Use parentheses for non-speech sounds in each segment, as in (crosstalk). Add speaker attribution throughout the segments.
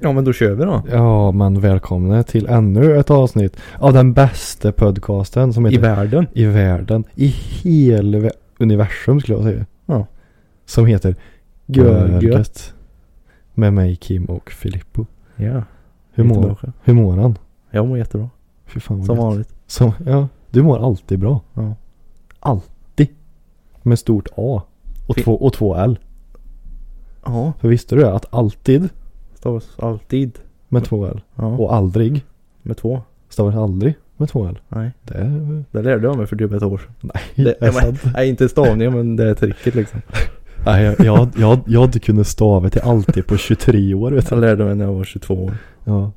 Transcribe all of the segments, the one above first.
Speaker 1: Ja men då kör vi då.
Speaker 2: Ja, men välkomna till ännu ett avsnitt av den bästa podcasten som heter
Speaker 1: I världen.
Speaker 2: I världen. I hela vä- universum skulle jag säga.
Speaker 1: Ja.
Speaker 2: Som heter
Speaker 1: Görgött.
Speaker 2: Görgött. Med mig Kim och Filippo.
Speaker 1: Ja. vi
Speaker 2: Hur
Speaker 1: är
Speaker 2: mår,
Speaker 1: tillbaka.
Speaker 2: hur mår han?
Speaker 1: Jag mår jättebra.
Speaker 2: Fy fan vad
Speaker 1: Som
Speaker 2: gött.
Speaker 1: vanligt.
Speaker 2: Som, ja, du mår alltid bra.
Speaker 1: Ja.
Speaker 2: Alltid. Med stort A. Och,
Speaker 1: Fin-
Speaker 2: två, och två L.
Speaker 1: Ja.
Speaker 2: För visste du det? Att alltid
Speaker 1: Stavas alltid.
Speaker 2: med två L.
Speaker 1: Ja.
Speaker 2: Och aldrig
Speaker 1: Med två.
Speaker 2: stavas aldrig med två L.
Speaker 1: Nej.
Speaker 2: Det är...
Speaker 1: Det lärde jag mig för typ ett år sedan.
Speaker 2: Nej,
Speaker 1: Det,
Speaker 2: det är sant.
Speaker 1: men, (laughs) nej inte stavningen men det är tricket (laughs) liksom.
Speaker 2: Nej, jag, jag, jag, jag hade kunnat stava till alltid på 23 år vet du.
Speaker 1: Jag lärde mig när jag var 22 år.
Speaker 2: Ja.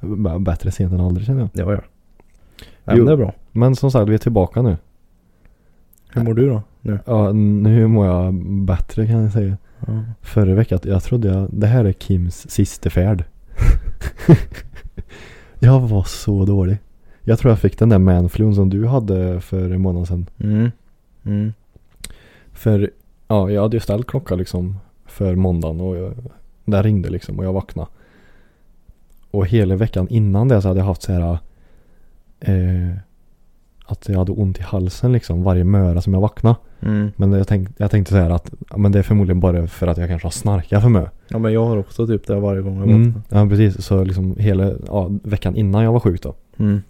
Speaker 2: B- Bättre sent än aldrig känner jag.
Speaker 1: Ja ja. Nej, men
Speaker 2: Jo.
Speaker 1: det är bra.
Speaker 2: Men som sagt, vi är tillbaka nu.
Speaker 1: Hur mår du då? Nu?
Speaker 2: Ja, nu mår jag bättre kan jag säga.
Speaker 1: Ja.
Speaker 2: Förra veckan, jag trodde jag, det här är Kims sista färd. (laughs) jag var så dålig. Jag tror jag fick den där manflun som du hade för en månad sedan.
Speaker 1: Mm. Mm.
Speaker 2: För, ja, jag hade ju ställt klockan liksom för måndagen och jag, den ringde liksom och jag vaknade. Och hela veckan innan det så hade jag haft så här eh, att jag hade ont i halsen liksom varje möra som jag vaknade.
Speaker 1: Mm.
Speaker 2: Men jag, tänk, jag tänkte så här att ja, men det är förmodligen bara för att jag kanske har snarkat för mycket.
Speaker 1: Ja men jag har också typ det varje gång jag
Speaker 2: Mm,
Speaker 1: vaknar.
Speaker 2: ja precis, så liksom hela ja, veckan innan jag var sjuk då.
Speaker 1: Mm.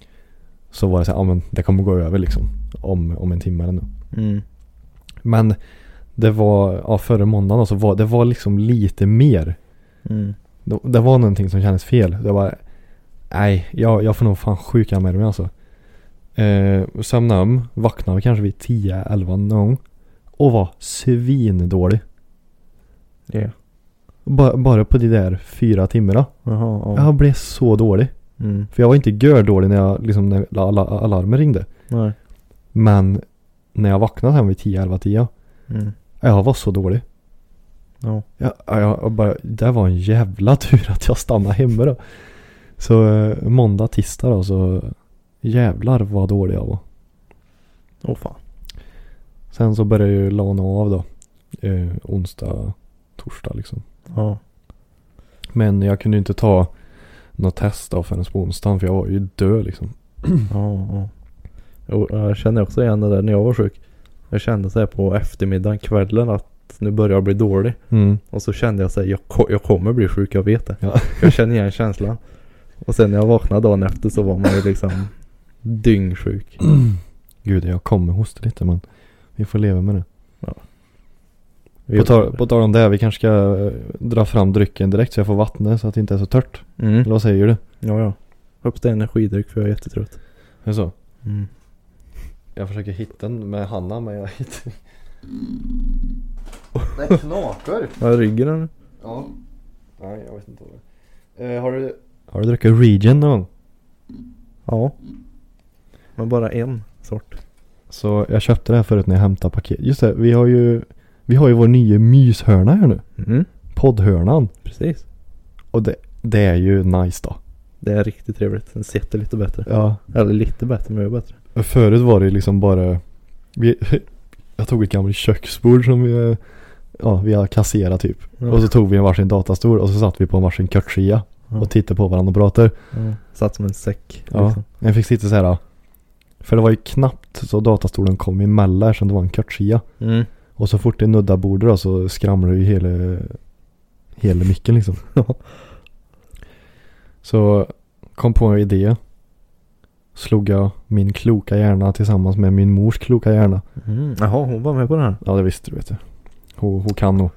Speaker 2: Så var det så här, ja men det kommer gå över liksom. Om, om en timme eller nu.
Speaker 1: Mm.
Speaker 2: Men det var, ja förra måndagen då, så var det var liksom lite mer.
Speaker 1: Mm.
Speaker 2: Det, det var någonting som kändes fel. Jag bara, nej jag, jag får nog fan sjuka med mig alltså. Eh, Sömnade om, vaknade kanske vid 10-11 någon gång. Och var svindålig.
Speaker 1: Ja.
Speaker 2: Ba, bara på de där fyra timmarna.
Speaker 1: Jaha. Ja.
Speaker 2: Jag blev så dålig.
Speaker 1: Mm.
Speaker 2: För jag var inte gördålig när, jag, liksom, när alla, alarmen ringde.
Speaker 1: Nej.
Speaker 2: Men när jag vaknade hem vid 10, 11, 10.
Speaker 1: Mm.
Speaker 2: Jag var så dålig.
Speaker 1: Ja.
Speaker 2: Jag, jag, jag bara, det var en jävla (laughs) tur att jag stannade hemma då. Så eh, måndag, tisdag då så jävlar vad dålig jag var.
Speaker 1: Åh fan.
Speaker 2: Sen så började jag ju lana av då. Eh, onsdag, torsdag liksom.
Speaker 1: Ja.
Speaker 2: Men jag kunde ju inte ta något test då förrän på onsdagen för jag var ju död liksom.
Speaker 1: Ja, ja. Jo, jag känner också igen det där när jag var sjuk. Jag kände så här på eftermiddagen, kvällen att nu börjar jag bli dålig.
Speaker 2: Mm.
Speaker 1: Och så kände jag så här, jag, ko- jag kommer bli sjuk, jag vet det.
Speaker 2: Ja.
Speaker 1: Jag känner igen känslan. Och sen när jag vaknade dagen efter så var man ju liksom dyngsjuk.
Speaker 2: Gud, jag kommer hosta lite men vi får leva med det.
Speaker 1: Vi-
Speaker 2: På tal, på tal om det, här, vi kanske ska eh, dra fram drycken direkt så jag får vattnet så att det inte är så tört.
Speaker 1: Mm.
Speaker 2: Eller vad säger du?
Speaker 1: Ja, ja. Upp till energidryck för jag är jättetrött.
Speaker 2: Är det så?
Speaker 1: Mm.
Speaker 2: Jag försöker hitta den med Hanna men jag hittar inte.
Speaker 1: Det
Speaker 2: knakar!
Speaker 1: Har jag ryggen eller?
Speaker 2: Ja. Nej, jag vet inte vad det är. har du... Har du druckit Regen någon gång?
Speaker 1: Ja. Men bara en sort.
Speaker 2: Så jag köpte det här förut när jag hämtade paket. Just det, vi har ju... Vi har ju vår nya myshörna här nu.
Speaker 1: Mm.
Speaker 2: Poddhörnan.
Speaker 1: Precis.
Speaker 2: Och det, det är ju nice då.
Speaker 1: Det är riktigt trevligt. Den sitter lite bättre.
Speaker 2: Ja.
Speaker 1: Eller lite bättre, men jag är bättre.
Speaker 2: Förut var det liksom bara vi, (laughs) Jag tog ett gammalt köksbord som vi Ja, vi har kasserat typ
Speaker 1: Ja.
Speaker 2: Och så tog vi en varsin datastol och så satt vi på en varsin kortsia
Speaker 1: Ja.
Speaker 2: Och tittade på varandra och pratade
Speaker 1: Ja. Satt som en säck.
Speaker 2: Ja.
Speaker 1: Liksom.
Speaker 2: Jag fick sitta så här. För det var ju knappt så datastolen kom emellan eftersom det var en kortsia
Speaker 1: Mm.
Speaker 2: Och så fort det nuddade bordet då så skramlade ju hela Hela micken liksom
Speaker 1: Ja.
Speaker 2: Så kom på en idé Slog jag min kloka hjärna tillsammans med min mors kloka hjärna
Speaker 1: Mm. Jaha, hon var med på den här.
Speaker 2: Ja det visste du vet du. Hon, hon kan nog.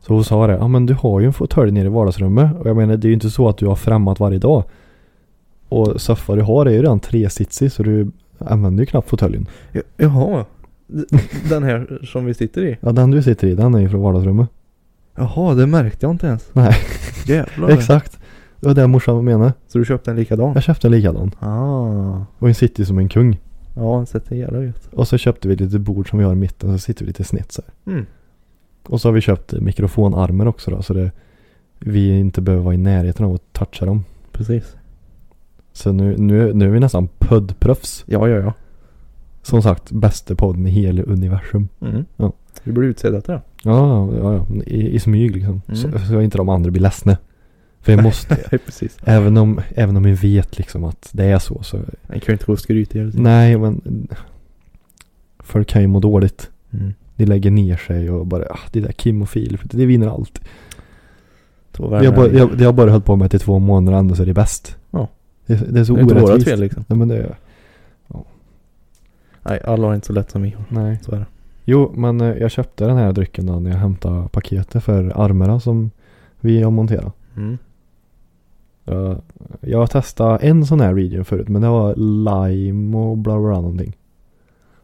Speaker 2: Så hon sa det. Ja men du har ju en fåtölj nere i vardagsrummet. Och jag menar det är ju inte så att du har främmat varje dag. Och soffa du har är ju redan tresitsig så du använder ju knappt fåtöljen.
Speaker 1: Ja, Jaha. D- Den här som vi sitter i.
Speaker 2: Ja den du sitter i den är ju från vardagsrummet.
Speaker 1: Jaha, det märkte jag inte ens.
Speaker 2: Nej,
Speaker 1: Jävlar.
Speaker 2: exakt. Det var det morsan menade.
Speaker 1: Så du köpte en likadan?
Speaker 2: Jag köpte en likadan.
Speaker 1: Ah.
Speaker 2: Och en sitter ju som en kung.
Speaker 1: Ja, en sätter jävla gött.
Speaker 2: Och så köpte vi lite bord som vi har i mitten. Så sitter vi lite snett så här.
Speaker 1: Mm.
Speaker 2: Och så har vi köpt mikrofonarmer också då. Så det, vi inte behöver vara i närheten av att toucha dem.
Speaker 1: Precis.
Speaker 2: Så nu, nu, nu är vi nästan poddproffs.
Speaker 1: Ja, ja, ja.
Speaker 2: Som sagt, bästa podden i hela universum.
Speaker 1: Mm.
Speaker 2: Ja.
Speaker 1: Du blir utsedd till det.
Speaker 2: Ja, ja, ja. I, i smyg liksom.
Speaker 1: Mm.
Speaker 2: Så, så inte de andra blir ledsna. För jag måste. (laughs)
Speaker 1: Nej, (laughs) precis.
Speaker 2: även, om, även om vi vet liksom att det är så. så
Speaker 1: Den kan ju inte gå och skryta hela tiden.
Speaker 2: nej, men folk kan ju må dåligt.
Speaker 1: Mm.
Speaker 2: De lägger ner sig och bara, ah, det där Kim och Filip, det vinner allt.
Speaker 1: Två
Speaker 2: Jag,
Speaker 1: världar.
Speaker 2: bara, jag, det har bara höll på med till två månader ändå så är det bäst.
Speaker 1: Ja.
Speaker 2: Det, det är så
Speaker 1: det är inte vårat
Speaker 2: orättvist.
Speaker 1: fel liksom.
Speaker 2: Nej, men det är,
Speaker 1: Nej, alla har inte så lätt som vi har.
Speaker 2: nej.
Speaker 1: Så är det.
Speaker 2: Jo, men eh, jag köpte den här drycken då när jag hämtade paketet för armarna som vi har monterat.
Speaker 1: Mm.
Speaker 2: Eh, Jag har testat en sån här region förut, men det var lime och bla bla bla någonting.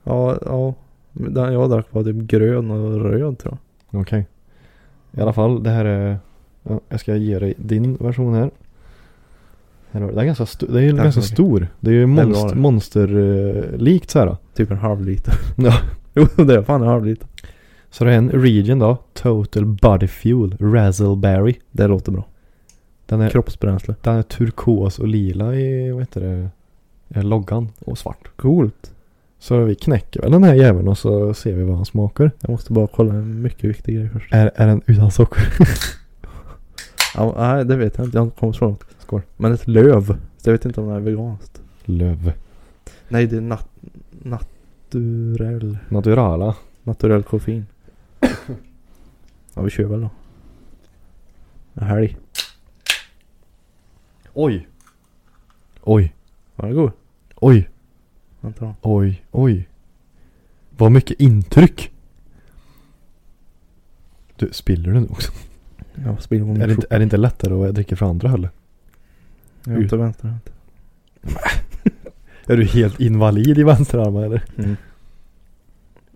Speaker 1: Ja, ja. Men Den jag drack var typ grön och röd tror jag.
Speaker 2: Okej. I alla fall, det här är... ja, Jag ska ge dig din version här. här har du- den är ganska, sto- den är ju
Speaker 1: Tack så
Speaker 2: ganska
Speaker 1: mycket.
Speaker 2: stor. Det är ju
Speaker 1: bra
Speaker 2: monst-
Speaker 1: det.
Speaker 2: monsterlikt så här. då.
Speaker 1: Typ en halv liter. (laughs)
Speaker 2: Ja.
Speaker 1: jo, det är fan en halv liter.
Speaker 2: Så det är en region då. Total Body Fuel Razzleberry.
Speaker 1: Det låter bra.
Speaker 2: Den är,
Speaker 1: Kroppsbränsle.
Speaker 2: den är turkos och lila i, vad heter det, i loggan. Och svart.
Speaker 1: Coolt.
Speaker 2: Så vi knäcker väl den här jäveln och så ser vi vad han smakar.
Speaker 1: Jag måste bara kolla en mycket viktig grej först.
Speaker 2: Är, är den utan socker?
Speaker 1: Ja, nej, det vet jag inte. Jag har inte kommit så långt.
Speaker 2: Skål.
Speaker 1: Men ett löv. Så jag vet inte om det är veganskt.
Speaker 2: Löv.
Speaker 1: Nej, det är nat naturell.
Speaker 2: Naturala.
Speaker 1: Naturell
Speaker 2: (coughs)
Speaker 1: koffein. ja, vi kör väl då. En helg.
Speaker 2: Oj. Oj.
Speaker 1: Var det god?
Speaker 2: Oj.
Speaker 1: Vänta då.
Speaker 2: Oj, oj. Vad mycket intryck. Du, spiller du nu också?
Speaker 1: Jag spiller på min
Speaker 2: Är det, inte, är det inte lättare att dricka för andra eller?
Speaker 1: Jag är inte vänsterhänt.
Speaker 2: Är du helt invalid i vänsterarmen eller?
Speaker 1: Mm.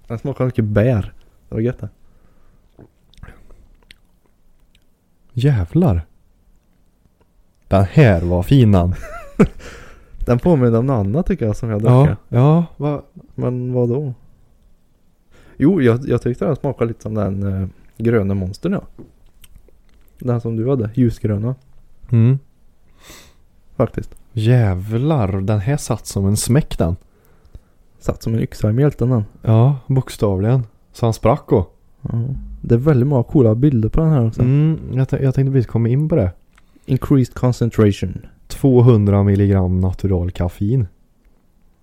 Speaker 1: Den smakar mycket bär. Det var gött det.
Speaker 2: Jävlar. Den här var finan.
Speaker 1: Den påminner om något annat tycker jag som jag drack.
Speaker 2: Ja,
Speaker 1: Ja.
Speaker 2: ja. Va?
Speaker 1: Men vad då? Jo, jag, jag tyckte den smakade lite som den eh, gröna monstern ja. Den som du hade, ljusgröna
Speaker 2: Mm.
Speaker 1: faktiskt.
Speaker 2: Jävlar, den här satt som en smäck den.
Speaker 1: Satt som en yxa i mjälten den.
Speaker 2: Ja, bokstavligen. Så han sprack då.
Speaker 1: Ja. Det är väldigt många coola bilder på den här också.
Speaker 2: Mm, jag, tän- jag tänkte precis komma in på det.
Speaker 1: Increased concentration.
Speaker 2: 200 milligram natural koffein.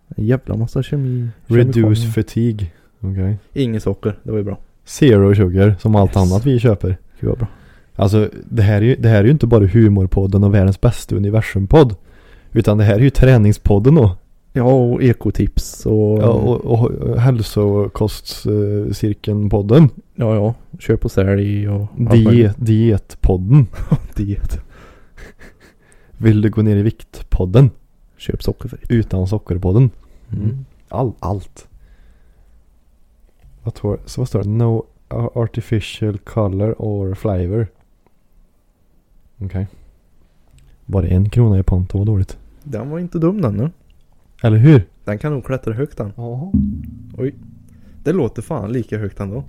Speaker 1: En jävla massa kemi.
Speaker 2: Reduce
Speaker 1: kemikalier.
Speaker 2: fatigue. Okej.
Speaker 1: Inget socker, det var ju bra.
Speaker 2: Zero sugar som allt
Speaker 1: Yes.
Speaker 2: annat vi köper.
Speaker 1: Gud vad bra.
Speaker 2: Alltså det här, är ju, det här är ju inte bara humorpodden och världens bästa universumpodd. Utan det här är ju träningspodden då.
Speaker 1: Ja, och ekotips och...
Speaker 2: Ja, och, och, och hälsokostcirkeln-podden.
Speaker 1: ja, ja. Köp och sälj och...
Speaker 2: Diet, dietpodden.
Speaker 1: (laughs) Diet.
Speaker 2: Vill du gå ner i vikt-podden.
Speaker 1: Köp sockerfritt.
Speaker 2: Utan socker-podden.
Speaker 1: Mm.
Speaker 2: All, allt. Vad, tror, så vad står det? No artificial color or flavor. Okej. Bara en krona i panto, vad dåligt.
Speaker 1: Den var inte dum den nu.
Speaker 2: Eller hur?
Speaker 1: Den kan nog klättra högt den.
Speaker 2: Ja.
Speaker 1: Det låter fan lika högt ändå.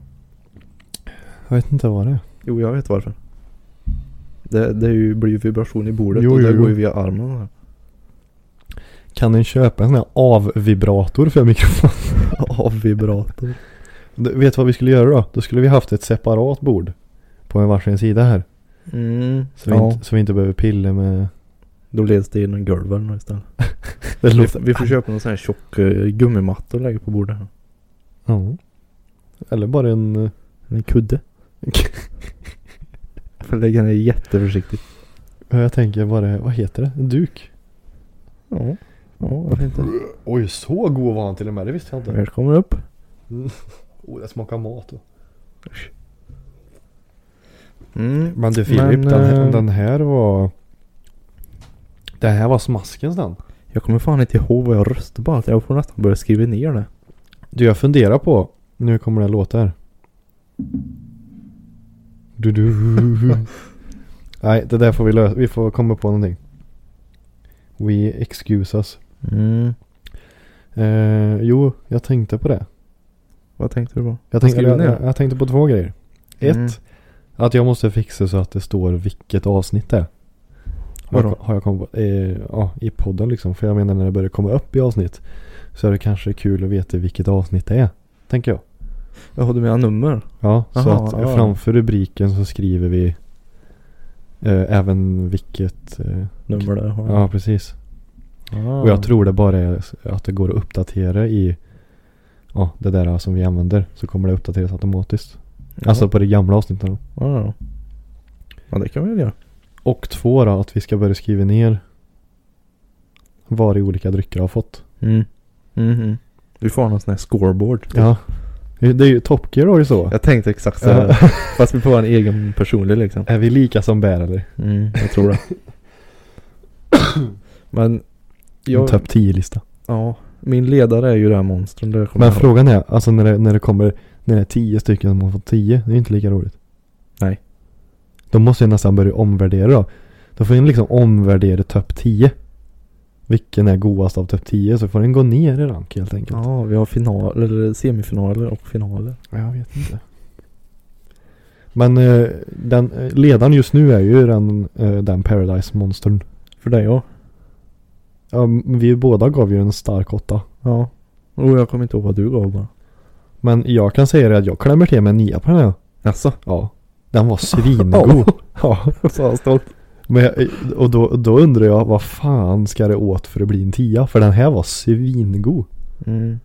Speaker 2: Jag vet inte vad det är.
Speaker 1: Jo, jag vet varför. Det, det är ju, blir ju vibration i bordet
Speaker 2: Jo,
Speaker 1: och det
Speaker 2: jo, jo.
Speaker 1: går ju via armen. här.
Speaker 2: Kan en köpa en sån här avvibrator
Speaker 1: (laughs)
Speaker 2: för mikrofon?
Speaker 1: Av vibrator.
Speaker 2: Du, vet vad vi skulle göra då? Då skulle vi haft ett separat bord. På en varsin sida här.
Speaker 1: Mm.
Speaker 2: Så, vi, inte, så vi inte behöver pilla med...
Speaker 1: Då leds det genom golvet nu istället.
Speaker 2: Det
Speaker 1: Vi, vi får köpa någon sån här tjock eh, gummimatta och lägga på bordet här.
Speaker 2: Ja. Eller bara en... eh,
Speaker 1: En kudde. Får lägga ner jätteförsiktigt.
Speaker 2: Jag tänker bara, vad heter det? En duk?
Speaker 1: Ja. Ja, varför inte?
Speaker 2: Oj, så god var han till och med. Det visste jag
Speaker 1: Här kommer det upp.
Speaker 2: Oh, det smakar mat.
Speaker 1: Mm.
Speaker 2: Men du Filip,
Speaker 1: Men,
Speaker 2: den,
Speaker 1: eh,
Speaker 2: den här var... Den här var smaskens den.
Speaker 1: Jag kommer fan inte ihåg vad jag röstade på. allt. Jag får nästan börja skriva ner det.
Speaker 2: Du jag funderar på, nu kommer det låta här. Du, du.
Speaker 1: (laughs)
Speaker 2: Nej, det där får vi lösa. Vi får komma på någonting. We excuse us.
Speaker 1: Mm.
Speaker 2: Eh, jo, jag tänkte på det.
Speaker 1: Vad tänkte du på?
Speaker 2: Jag tänkte,
Speaker 1: skriver
Speaker 2: jag,
Speaker 1: ni?
Speaker 2: jag, jag tänkte på två grejer. Ett,
Speaker 1: Mm.
Speaker 2: att jag måste fixa så att det står vilket avsnitt det är. Har jag,
Speaker 1: Vadå?
Speaker 2: har jag kommit på, eh, ja, i podden liksom. För jag menar när det börjar komma upp i avsnitt så är det kanske kul att veta vilket avsnitt det är. Tänker jag.
Speaker 1: Jaha, du menar nummer?
Speaker 2: Ja, så
Speaker 1: Aha,
Speaker 2: att
Speaker 1: ja, ja.
Speaker 2: framför rubriken så skriver vi eh, även vilket... Eh,
Speaker 1: Nummer där har
Speaker 2: ja, precis.
Speaker 1: Ah.
Speaker 2: Och jag tror det bara är s- att det går att uppdatera i ja, det där som vi använder. Så kommer det uppdateras automatiskt.
Speaker 1: Ja.
Speaker 2: Alltså på det gamla avsnittet. då.
Speaker 1: Ja, ja. ja, det kan vi väl göra.
Speaker 2: Och två då, att vi ska börja skriva ner vad de olika drycker har fått.
Speaker 1: Mm. Mhm. Vi får ha någon sån här scoreboard.
Speaker 2: Ja. Det är ju Top Gear har ju så.
Speaker 1: Jag tänkte exakt så här. Fast vi får ha en egen personlig liksom.
Speaker 2: Är vi lika som bär eller?
Speaker 1: Mm, jag tror det. Men
Speaker 2: En
Speaker 1: jag,
Speaker 2: Topp 10-lista.
Speaker 1: ja, min ledare är ju det här monstren. Det kommer
Speaker 2: Men
Speaker 1: jag ihåg.
Speaker 2: frågan är, alltså när det, när det kommer, när det är tio stycken som har fått tio, det är ju inte lika roligt.
Speaker 1: Nej.
Speaker 2: Då måste jag nästan börja omvärdera då. Då får jag liksom omvärdera topp 10. Vilken är godast av topp 10 så får den gå ner i rank helt enkelt.
Speaker 1: Ja, vi har final, eller semifinaler och finaler.
Speaker 2: jag vet inte. Men eh, den, eh, ledaren just nu är ju den, eh, den Paradise-monstern.
Speaker 1: För dig ja.
Speaker 2: Ja, m- vi båda gav ju en stark åtta.
Speaker 1: Ja. Och jag kommer inte ihåg vad du gav bara.
Speaker 2: Men jag kan säga det att jag klämmer till med en nia på den här.
Speaker 1: Jaså?
Speaker 2: Ja. Den
Speaker 1: (laughs)
Speaker 2: var svingod. ja.
Speaker 1: Så stolt.
Speaker 2: Men jag, eh, och då, då undrar jag vad fan ska det åt för att bli en tia? För den här var svingod.
Speaker 1: Mm.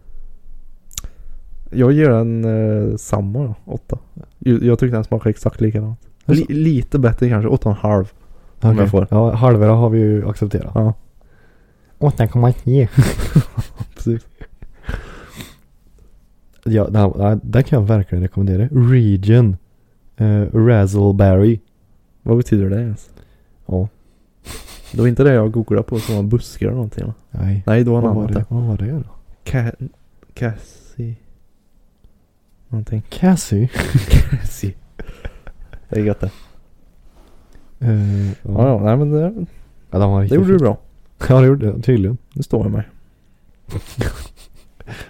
Speaker 1: Jag ger en eh, samma då, åtta. Jag, jag tyckte den smakade exakt likadant. Li, lite bättre kanske, åtta och en halv. Om jag får.
Speaker 2: Ja, halvera har vi ju accepterat.
Speaker 1: Ja.
Speaker 2: (laughs) 8,9.
Speaker 1: Precis.
Speaker 2: Ja, den, nej, den kan jag verkligen rekommendera. Region. Eh, Razzleberry.
Speaker 1: Vad betyder det ens?
Speaker 2: Ja.
Speaker 1: Det var inte det jag googlade på som var buskar eller någonting va?
Speaker 2: Nej.
Speaker 1: Nej, det var en
Speaker 2: Vad var
Speaker 1: annan. typ.
Speaker 2: det, vad var det då?
Speaker 1: Ca Cassie. Någonting.
Speaker 2: Cassie.
Speaker 1: Cassie. (laughs) Det är gött det.
Speaker 2: Eh, ja.
Speaker 1: Ja, ja, nej men det,
Speaker 2: Ja, den var
Speaker 1: det
Speaker 2: riktigt
Speaker 1: gjorde du
Speaker 2: fin.
Speaker 1: bra.
Speaker 2: Ja, det gjorde jag. Tydligen.
Speaker 1: Nu står jag mig.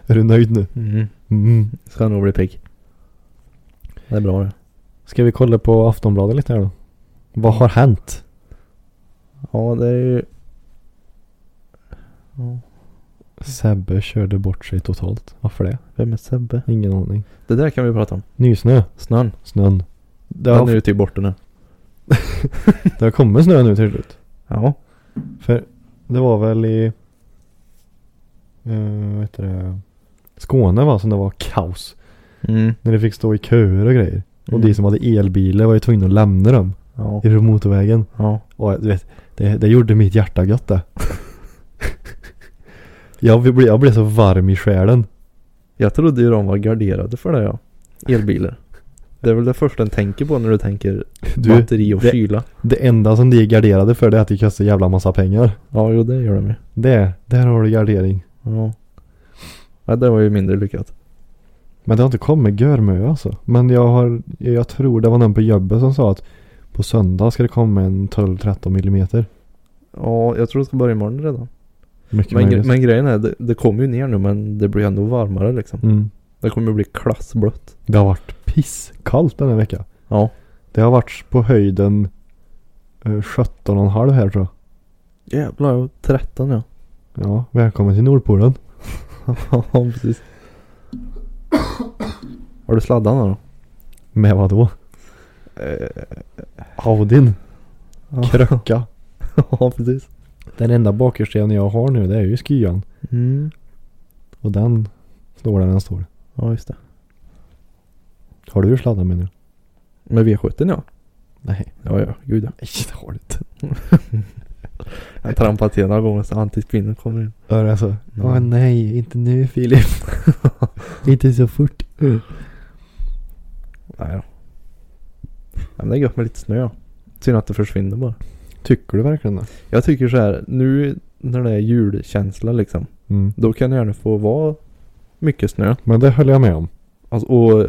Speaker 2: Är du nöjd nu?
Speaker 1: Mm.
Speaker 2: Mm.
Speaker 1: Ska nog bli pigg. Det är bra det.
Speaker 2: Ska vi kolla på Aftonbladet lite här då? Vad har hänt?
Speaker 1: Ja, det är ju... Ja,
Speaker 2: Sebbe körde bort sig totalt. Varför det?
Speaker 1: vem är Sebbe?
Speaker 2: Ingen aning.
Speaker 1: Det där kan vi prata om.
Speaker 2: Nysnö.
Speaker 1: Snön.
Speaker 2: Snön. Det
Speaker 1: Den
Speaker 2: har,
Speaker 1: är ju typ borta nu.
Speaker 2: det har kommit snö nu till slut.
Speaker 1: Ja.
Speaker 2: För det var väl i... Uh, vad heter det? Skåne va? Som det var kaos.
Speaker 1: Mm.
Speaker 2: När det fick stå i köer och grejer. Och de som hade elbilar var ju tvungna att lämna dem.
Speaker 1: Ja.
Speaker 2: I motorvägen.
Speaker 1: Ja.
Speaker 2: Och du vet, det, det gjorde mitt hjärta gött det. (laughs) jag, blev, jag blev så varm i själen.
Speaker 1: Jag trodde ju de var garderade för det ja. Elbilar. Det är väl det första en tänker på när du tänker
Speaker 2: Du,
Speaker 1: batteri och
Speaker 2: det-
Speaker 1: kyla.
Speaker 2: det enda som de är garderade för det är att det kostar jävla massa pengar.
Speaker 1: Ja, jo det gör de ju.
Speaker 2: Det, där har du gardering.
Speaker 1: Ja. ja. Det var ju mindre lyckat.
Speaker 2: Men det har inte kommit görmö alltså. Men jag har, jag tror det var någon på jobbet som sa att på söndag ska det komma en 12-13 millimeter.
Speaker 1: Ja, jag tror det ska börja imorgon redan.
Speaker 2: Mycket
Speaker 1: Men, gre-
Speaker 2: möjligt.
Speaker 1: men grejen är, det, det kommer ju ner nu men det blir ändå varmare liksom.
Speaker 2: mm.
Speaker 1: Det kommer ju bli klassblött.
Speaker 2: Det har varit pisskallt den här veckan.
Speaker 1: Ja.
Speaker 2: Det har varit på höjden eh, 17,5 här tror jag.
Speaker 1: Jävlar, jag var 13 ja.
Speaker 2: Ja, välkommen till Nordpolen.
Speaker 1: (laughs) Ja, precis. Har du sladdarna då?
Speaker 2: Med vad då? Eh. Audin. Kröcka.
Speaker 1: (laughs) Ja, precis.
Speaker 2: (laughs) Den enda bakhjulsdrivan jag har nu det är ju skyan.
Speaker 1: Mm.
Speaker 2: Och den står där den står.
Speaker 1: Ja, just det.
Speaker 2: Har du sladdar med nu?
Speaker 1: Med V70 ja.
Speaker 2: Nej. (laughs)
Speaker 1: Ja, ja. Gud ja.
Speaker 2: Nej det har du inte.
Speaker 1: Jag trampade till några gånger så antispinnen kommer in.
Speaker 2: Är det så? Åh
Speaker 1: Mm.
Speaker 2: alltså, nej, inte nu (laughs) Filip. inte så fort.
Speaker 1: Nej då. Ja, men det är gött med lite snö. Synd att det försvinner bara.
Speaker 2: Tycker du verkligen det?
Speaker 1: Jag tycker så här, nu när det är julkänsla liksom.
Speaker 2: Mm.
Speaker 1: Då kan det gärna få vara mycket snö.
Speaker 2: Men det höll jag med om.
Speaker 1: Alltså, och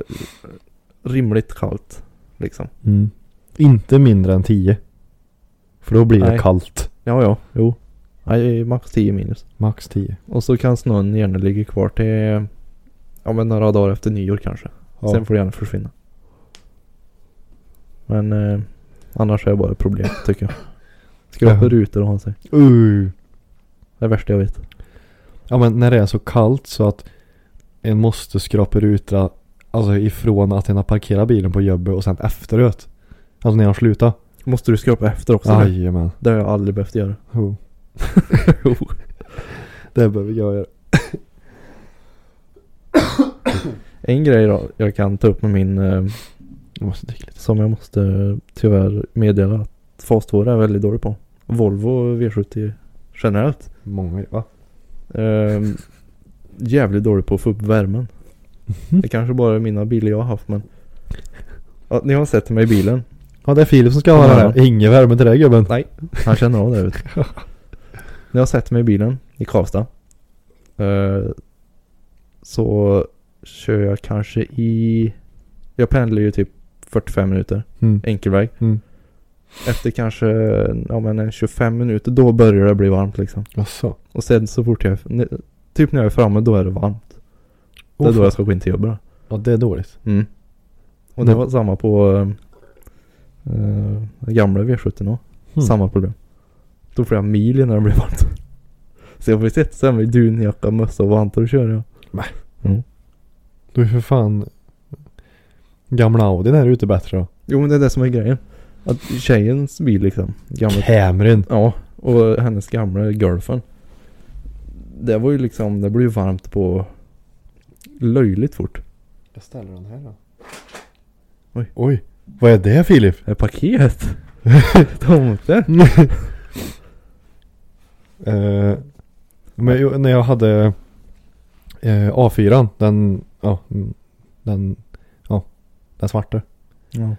Speaker 1: rimligt kallt. liksom.
Speaker 2: Mm. Inte mindre än 10. För då blir det
Speaker 1: Nej.
Speaker 2: kallt.
Speaker 1: Ja, ja, jo. Nej, max 10 minus.
Speaker 2: Max 10.
Speaker 1: Och så kan snön gärna ligga kvar till, ja men några dagar efter nyår kanske.
Speaker 2: Ja.
Speaker 1: Sen får det gärna försvinna. Men eh, annars är det bara ett (laughs) problem tycker jag. Skrapa
Speaker 2: Ja.
Speaker 1: rutor och ha sig.
Speaker 2: Uh.
Speaker 1: Det är det värsta jag vet.
Speaker 2: Ja men när det är så kallt så att en måste skrapa ruta alltså ifrån att en har parkerat bilen på jobbet och sen efteråt. Alltså när han slutar.
Speaker 1: Måste du skrapa efter också? nu?
Speaker 2: (laughs) Jajamän.
Speaker 1: Det har jag aldrig behövt göra.
Speaker 2: Jo. Jo. det behöver jag göra.
Speaker 1: En grej då jag kan ta upp med min eh,
Speaker 2: Jag måste dricka lite.
Speaker 1: som jag måste eh, tyvärr meddela att fas 2 är väldigt dålig på. Volvo V70 generellt.
Speaker 2: Många va?
Speaker 1: Ehm, jävligt dålig på att få upp värmen. Det kanske bara är mina bilar jag har haft men. Ja, ni har sett mig i bilen.
Speaker 2: Ja det är Filip som ska ha det här. Ingen värme till dig gubben. Nej.
Speaker 1: Han känner av det ut. När jag sätter mig i bilen i Karlstad. eh, så kör jag kanske i... Jag pendlar ju typ 45 minuter
Speaker 2: Mm.
Speaker 1: enkelväg.
Speaker 2: Mm.
Speaker 1: Efter kanske ja, men en 25 minuter då börjar det bli varmt liksom.
Speaker 2: Jaså?
Speaker 1: Och sen så fort jag är... n- Typ när jag är framme då är det varmt. Det är
Speaker 2: Åh,
Speaker 1: då
Speaker 2: fan.
Speaker 1: jag ska gå in till jobbet då.
Speaker 2: Ja det är dåligt.
Speaker 1: Mm. Och det
Speaker 2: Mm.
Speaker 1: var samma på eh, eh, gamla V70 då.
Speaker 2: Mm.
Speaker 1: Samma problem. Då får jag mil när det blir varmt. Så jag får ju sitta så här med dunjacka, mössa och vantar och köra.
Speaker 2: Du är för fan gamla Audin här ute bättre då.
Speaker 1: Jo men det är det som är grejen. Att tjejens bil liksom. Gamla,
Speaker 2: Cameron.
Speaker 1: ja. Och hennes gamla girlfriend. Det var ju liksom, det blev ju varmt på löjligt fort.
Speaker 2: Jag ställer den här då.
Speaker 1: Oj.
Speaker 2: Oj. Vad är det Filip?
Speaker 1: Ett paket. (laughs) Tomte.
Speaker 2: Mm. Eh, men ju- när jag hade eh, A4, den, ja, mm, den, ja, den svarta.
Speaker 1: Ja.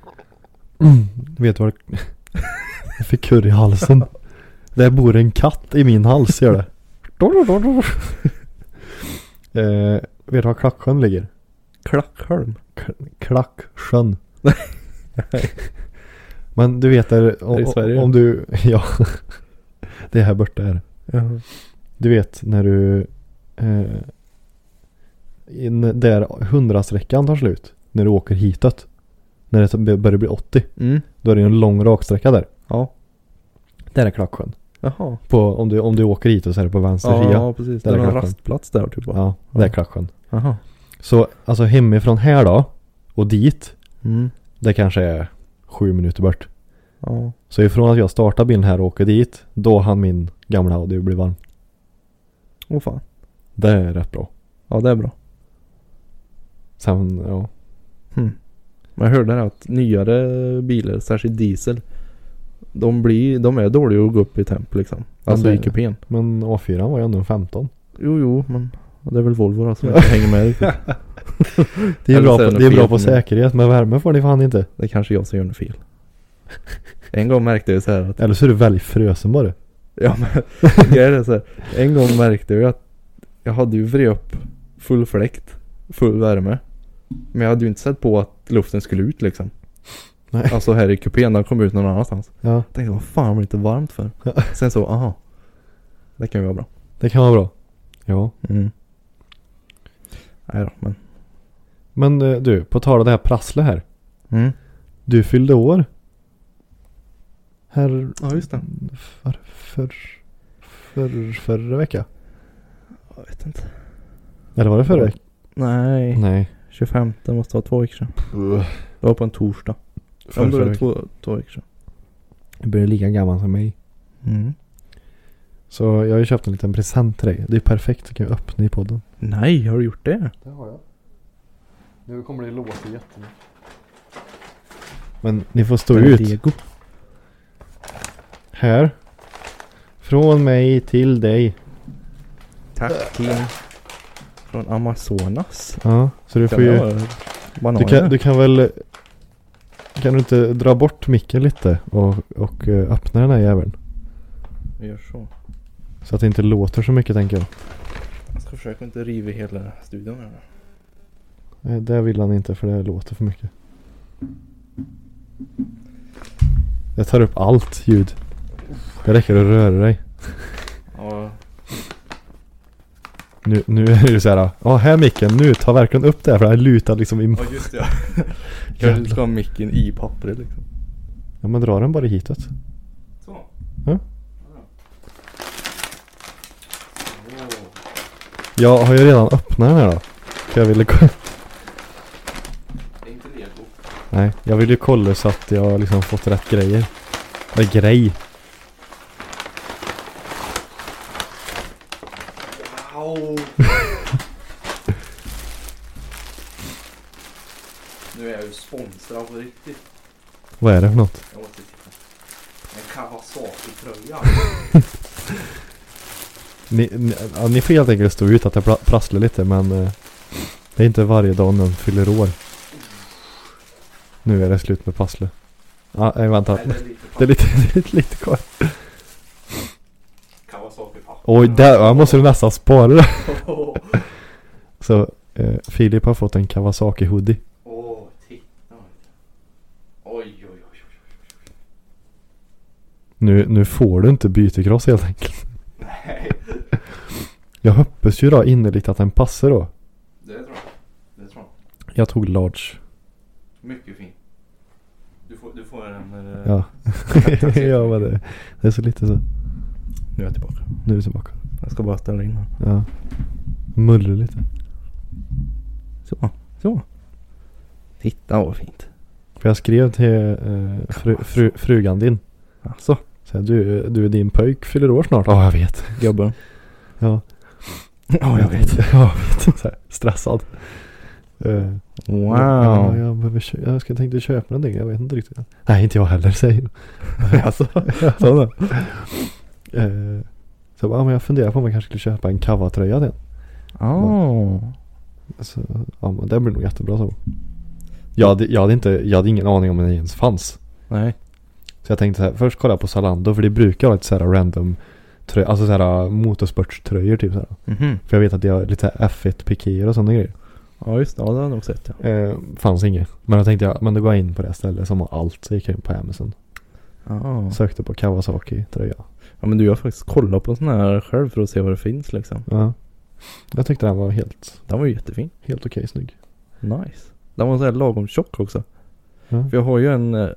Speaker 2: Vet du vad det- (laughs) Jag fick kurr i halsen. Där bor en katt i min
Speaker 1: (laughs)
Speaker 2: hals gör det. eh, vet du var Klacksjön ligger?
Speaker 1: Klackholm.
Speaker 2: K-
Speaker 1: (laughs)
Speaker 2: Klacksjön. Men du vet där,
Speaker 1: Är det i Sverige?
Speaker 2: om, om du, (laughs) ja. Det är här borta är det.
Speaker 1: Ja.
Speaker 2: Du vet när du eh, in, Där hundrasträckan tar slut När du åker hitåt När det så- börjar bli 80
Speaker 1: Mm.
Speaker 2: Då är det ju en lång raksträcka där
Speaker 1: Ja.
Speaker 2: Där är Klacksjön
Speaker 1: Jaha.
Speaker 2: på, om, du, om du åker hitåt så är det på vänster
Speaker 1: Ja,
Speaker 2: sida
Speaker 1: ja precis.
Speaker 2: Där
Speaker 1: Det är
Speaker 2: är
Speaker 1: någon
Speaker 2: klacken.
Speaker 1: rastplats där typ bara.
Speaker 2: Ja, där är Klacksjön
Speaker 1: Jaha.
Speaker 2: Så alltså hemifrån här då Och dit
Speaker 1: Mm.
Speaker 2: Det kanske är sju minuter bort
Speaker 1: Ja.
Speaker 2: Så ifrån att jag startar bilen här och åker dit Då hann min gamla Audi bli varm
Speaker 1: Åh fan.
Speaker 2: Det är rätt bra
Speaker 1: Ja det är bra.
Speaker 2: Sen, ja Hm.
Speaker 1: Hmm. Man hörde det att nyare bilar, särskilt diesel. De, blir, de är dåliga att gå upp i temp liksom.
Speaker 2: Ja,
Speaker 1: Alltså
Speaker 2: det
Speaker 1: i
Speaker 2: är det.
Speaker 1: kupén.
Speaker 2: Men A4 var ju ändå en 15
Speaker 1: Jo jo men det är väl Volvo
Speaker 2: (laughs)
Speaker 1: då som inte hänger med riktigt.
Speaker 2: Det är,
Speaker 1: Eller
Speaker 2: bra
Speaker 1: så är
Speaker 2: på,
Speaker 1: det
Speaker 2: det är bra
Speaker 1: fel
Speaker 2: på
Speaker 1: nu.
Speaker 2: säkerhet men värme får ni fan inte.
Speaker 1: Det är kanske jag som gör något
Speaker 2: (laughs)
Speaker 1: fel. En gång märkte jag så här att.
Speaker 2: Eller så är du väldigt frusen bara.
Speaker 1: Ja men (laughs) grejen är så här. En gång märkte jag att jag hade ju vred upp full fläkt. Full värme. Men jag hade ju inte sett på att luften skulle ut liksom.
Speaker 2: Nej.
Speaker 1: Alltså här i kupén, den kom ut någon annanstans.
Speaker 2: Ja,
Speaker 1: Jag tänkte vad fan blir det inte varmt för? Sen så, aha. Det kan ju vara bra.
Speaker 2: det kan vara bra. Ja.
Speaker 1: Mm. Nej då, men.
Speaker 2: Men eh, du, på tal om det här prasslet här.
Speaker 1: Mm.
Speaker 2: Du fyllde år. Här
Speaker 1: Ja, just det.
Speaker 2: för, för, för, förra vecka.
Speaker 1: Jag vet inte.
Speaker 2: Eller var det förra veckan?
Speaker 1: Nej,
Speaker 2: Nej.
Speaker 1: 25 måste vara två veckor sedan. Det var på en torsdag. Ja,
Speaker 2: Förra,
Speaker 1: men då är
Speaker 2: förra
Speaker 1: det
Speaker 2: veckan.
Speaker 1: två, två veckor sedan.
Speaker 2: Du börjar lika gammal som mig.
Speaker 1: Mm.
Speaker 2: Så jag har ju köpt en liten present till dig. Det är perfekt. Du kan ju öppna i podden.
Speaker 1: Nej, har du gjort det?
Speaker 2: Det har jag. Nu kommer det låta jättemycket. Men ni får stå
Speaker 1: Är det
Speaker 2: ut.
Speaker 1: Lego?
Speaker 2: Här. Från mig till dig.
Speaker 1: Tack team. Från Amazonas.
Speaker 2: Ja, så du
Speaker 1: Ska
Speaker 2: får
Speaker 1: vi
Speaker 2: ju...
Speaker 1: ha Bananer.
Speaker 2: Du kan, du kan väl... Kan du inte dra bort micken lite och, och eh, öppna den här jäveln?
Speaker 1: Vi gör så.
Speaker 2: Så att det inte låter så mycket tänker jag.
Speaker 1: Jag ska försöka inte riva hela studion här.
Speaker 2: Nej, det vill han inte för det låter för mycket. Jag tar upp allt ljud. Det räcker att röra dig.
Speaker 1: Ja.
Speaker 2: Nu, nu är det ju såhär, ja här micken, nu ta verkligen upp det här för den lutar liksom i...
Speaker 1: Ja just det ja. Kanske du ska ha micken i pappret liksom.
Speaker 2: Ja men dra den bara hitåt.
Speaker 1: Så.
Speaker 2: Ja. Jag har ju redan öppnat den här då. För jag ville ko- (laughs)
Speaker 1: Är inte det god?
Speaker 2: Nej, jag ville ju kolla så att jag liksom fått rätt grejer. Vad är grej?
Speaker 1: Au! (laughs) nu är jag ju sponsrad på riktigt.
Speaker 2: Vad är det för något?
Speaker 1: Jag måste titta. En Kawasaki-tröja.
Speaker 2: Ni, ni, ja, ni får helt enkelt stå ut att jag pla- prasslar lite men eh, det är inte varje dag någon fyller år. Nu är det slut med prasslet. Ah, nej vänta.
Speaker 1: Eller lite
Speaker 2: Det är
Speaker 1: papper.
Speaker 2: lite, (laughs) det är lite, lite kvar.
Speaker 1: Kawasaki-papper.
Speaker 2: Oj, där ja, måste du nästan spara det.
Speaker 1: (laughs) Åh,
Speaker 2: Så eh, Filip har fått en Kawasaki hoodie.
Speaker 1: åh, titta. Oj, oj, oj, oj, oj.
Speaker 2: Nu, nu får du inte bytekross helt enkelt.
Speaker 1: Nej.
Speaker 2: Jag hoppas ju då innerligt att den passar då.
Speaker 1: Det tror jag. Det tror jag.
Speaker 2: Jag tog large.
Speaker 1: Mycket fin. Du får, du får en... eh,
Speaker 2: Ja. (laughs)
Speaker 1: (laughs)
Speaker 2: ja men det, det är så lite så.
Speaker 1: Nu är jag tillbaka.
Speaker 2: Nu är du tillbaka.
Speaker 1: Jag ska bara ställa in den.
Speaker 2: Ja. Mullrar lite.
Speaker 1: Så, så. Titta vad fint.
Speaker 2: För jag skrev till eh, fru, fru, frugan din.
Speaker 1: Alltså,
Speaker 2: Så här, du, du din pöjk fyller år snart. Ja, jag vet.
Speaker 1: gubben.
Speaker 2: Ja,
Speaker 1: Ja, jag
Speaker 2: (laughs)
Speaker 1: vet.
Speaker 2: ja, jag vet. Så här, stressad. Eh, Ja,
Speaker 1: Wow.
Speaker 2: jag, behöver kö- jag ska, tänkte köpa någonting. Jag vet inte riktigt. Nej, inte jag heller säger hon. (laughs) alltså, sådana. Eh, så jag bara, ja, men jag funderar på om jag kanske skulle köpa en kavatröja till
Speaker 1: Ah.
Speaker 2: så, ja, men Det blir nog jättebra så. Jag hade, jag, hade inte, jag hade ingen aning om den ens fanns.
Speaker 1: Nej.
Speaker 2: Så jag tänkte så här, först kolla på Zalando för det brukar vara lite så här random tröjor, alltså så här motorsportströjor typ så här.
Speaker 1: Mhm.
Speaker 2: För jag vet att det är lite F1 pikéer och sådana grejer.
Speaker 1: Ja, just det. Ja, det har jag nog sett ja.
Speaker 2: Eh, fanns inget. Men då tänkte jag, men då går jag in på det stället som har allt. Så gick jag in på Amazon.
Speaker 1: Ah.
Speaker 2: Sökte på Kawasaki tröja.
Speaker 1: Ja, men du, jag har faktiskt kollat på en sån här själv för att se vad det finns liksom.
Speaker 2: Ja. Jag tyckte den var helt,
Speaker 1: Den var ju jättefin.
Speaker 2: helt okej snygg.
Speaker 1: Nice. Den var så här lagom tjock också.
Speaker 2: Ja.
Speaker 1: För jag har ju en... eh,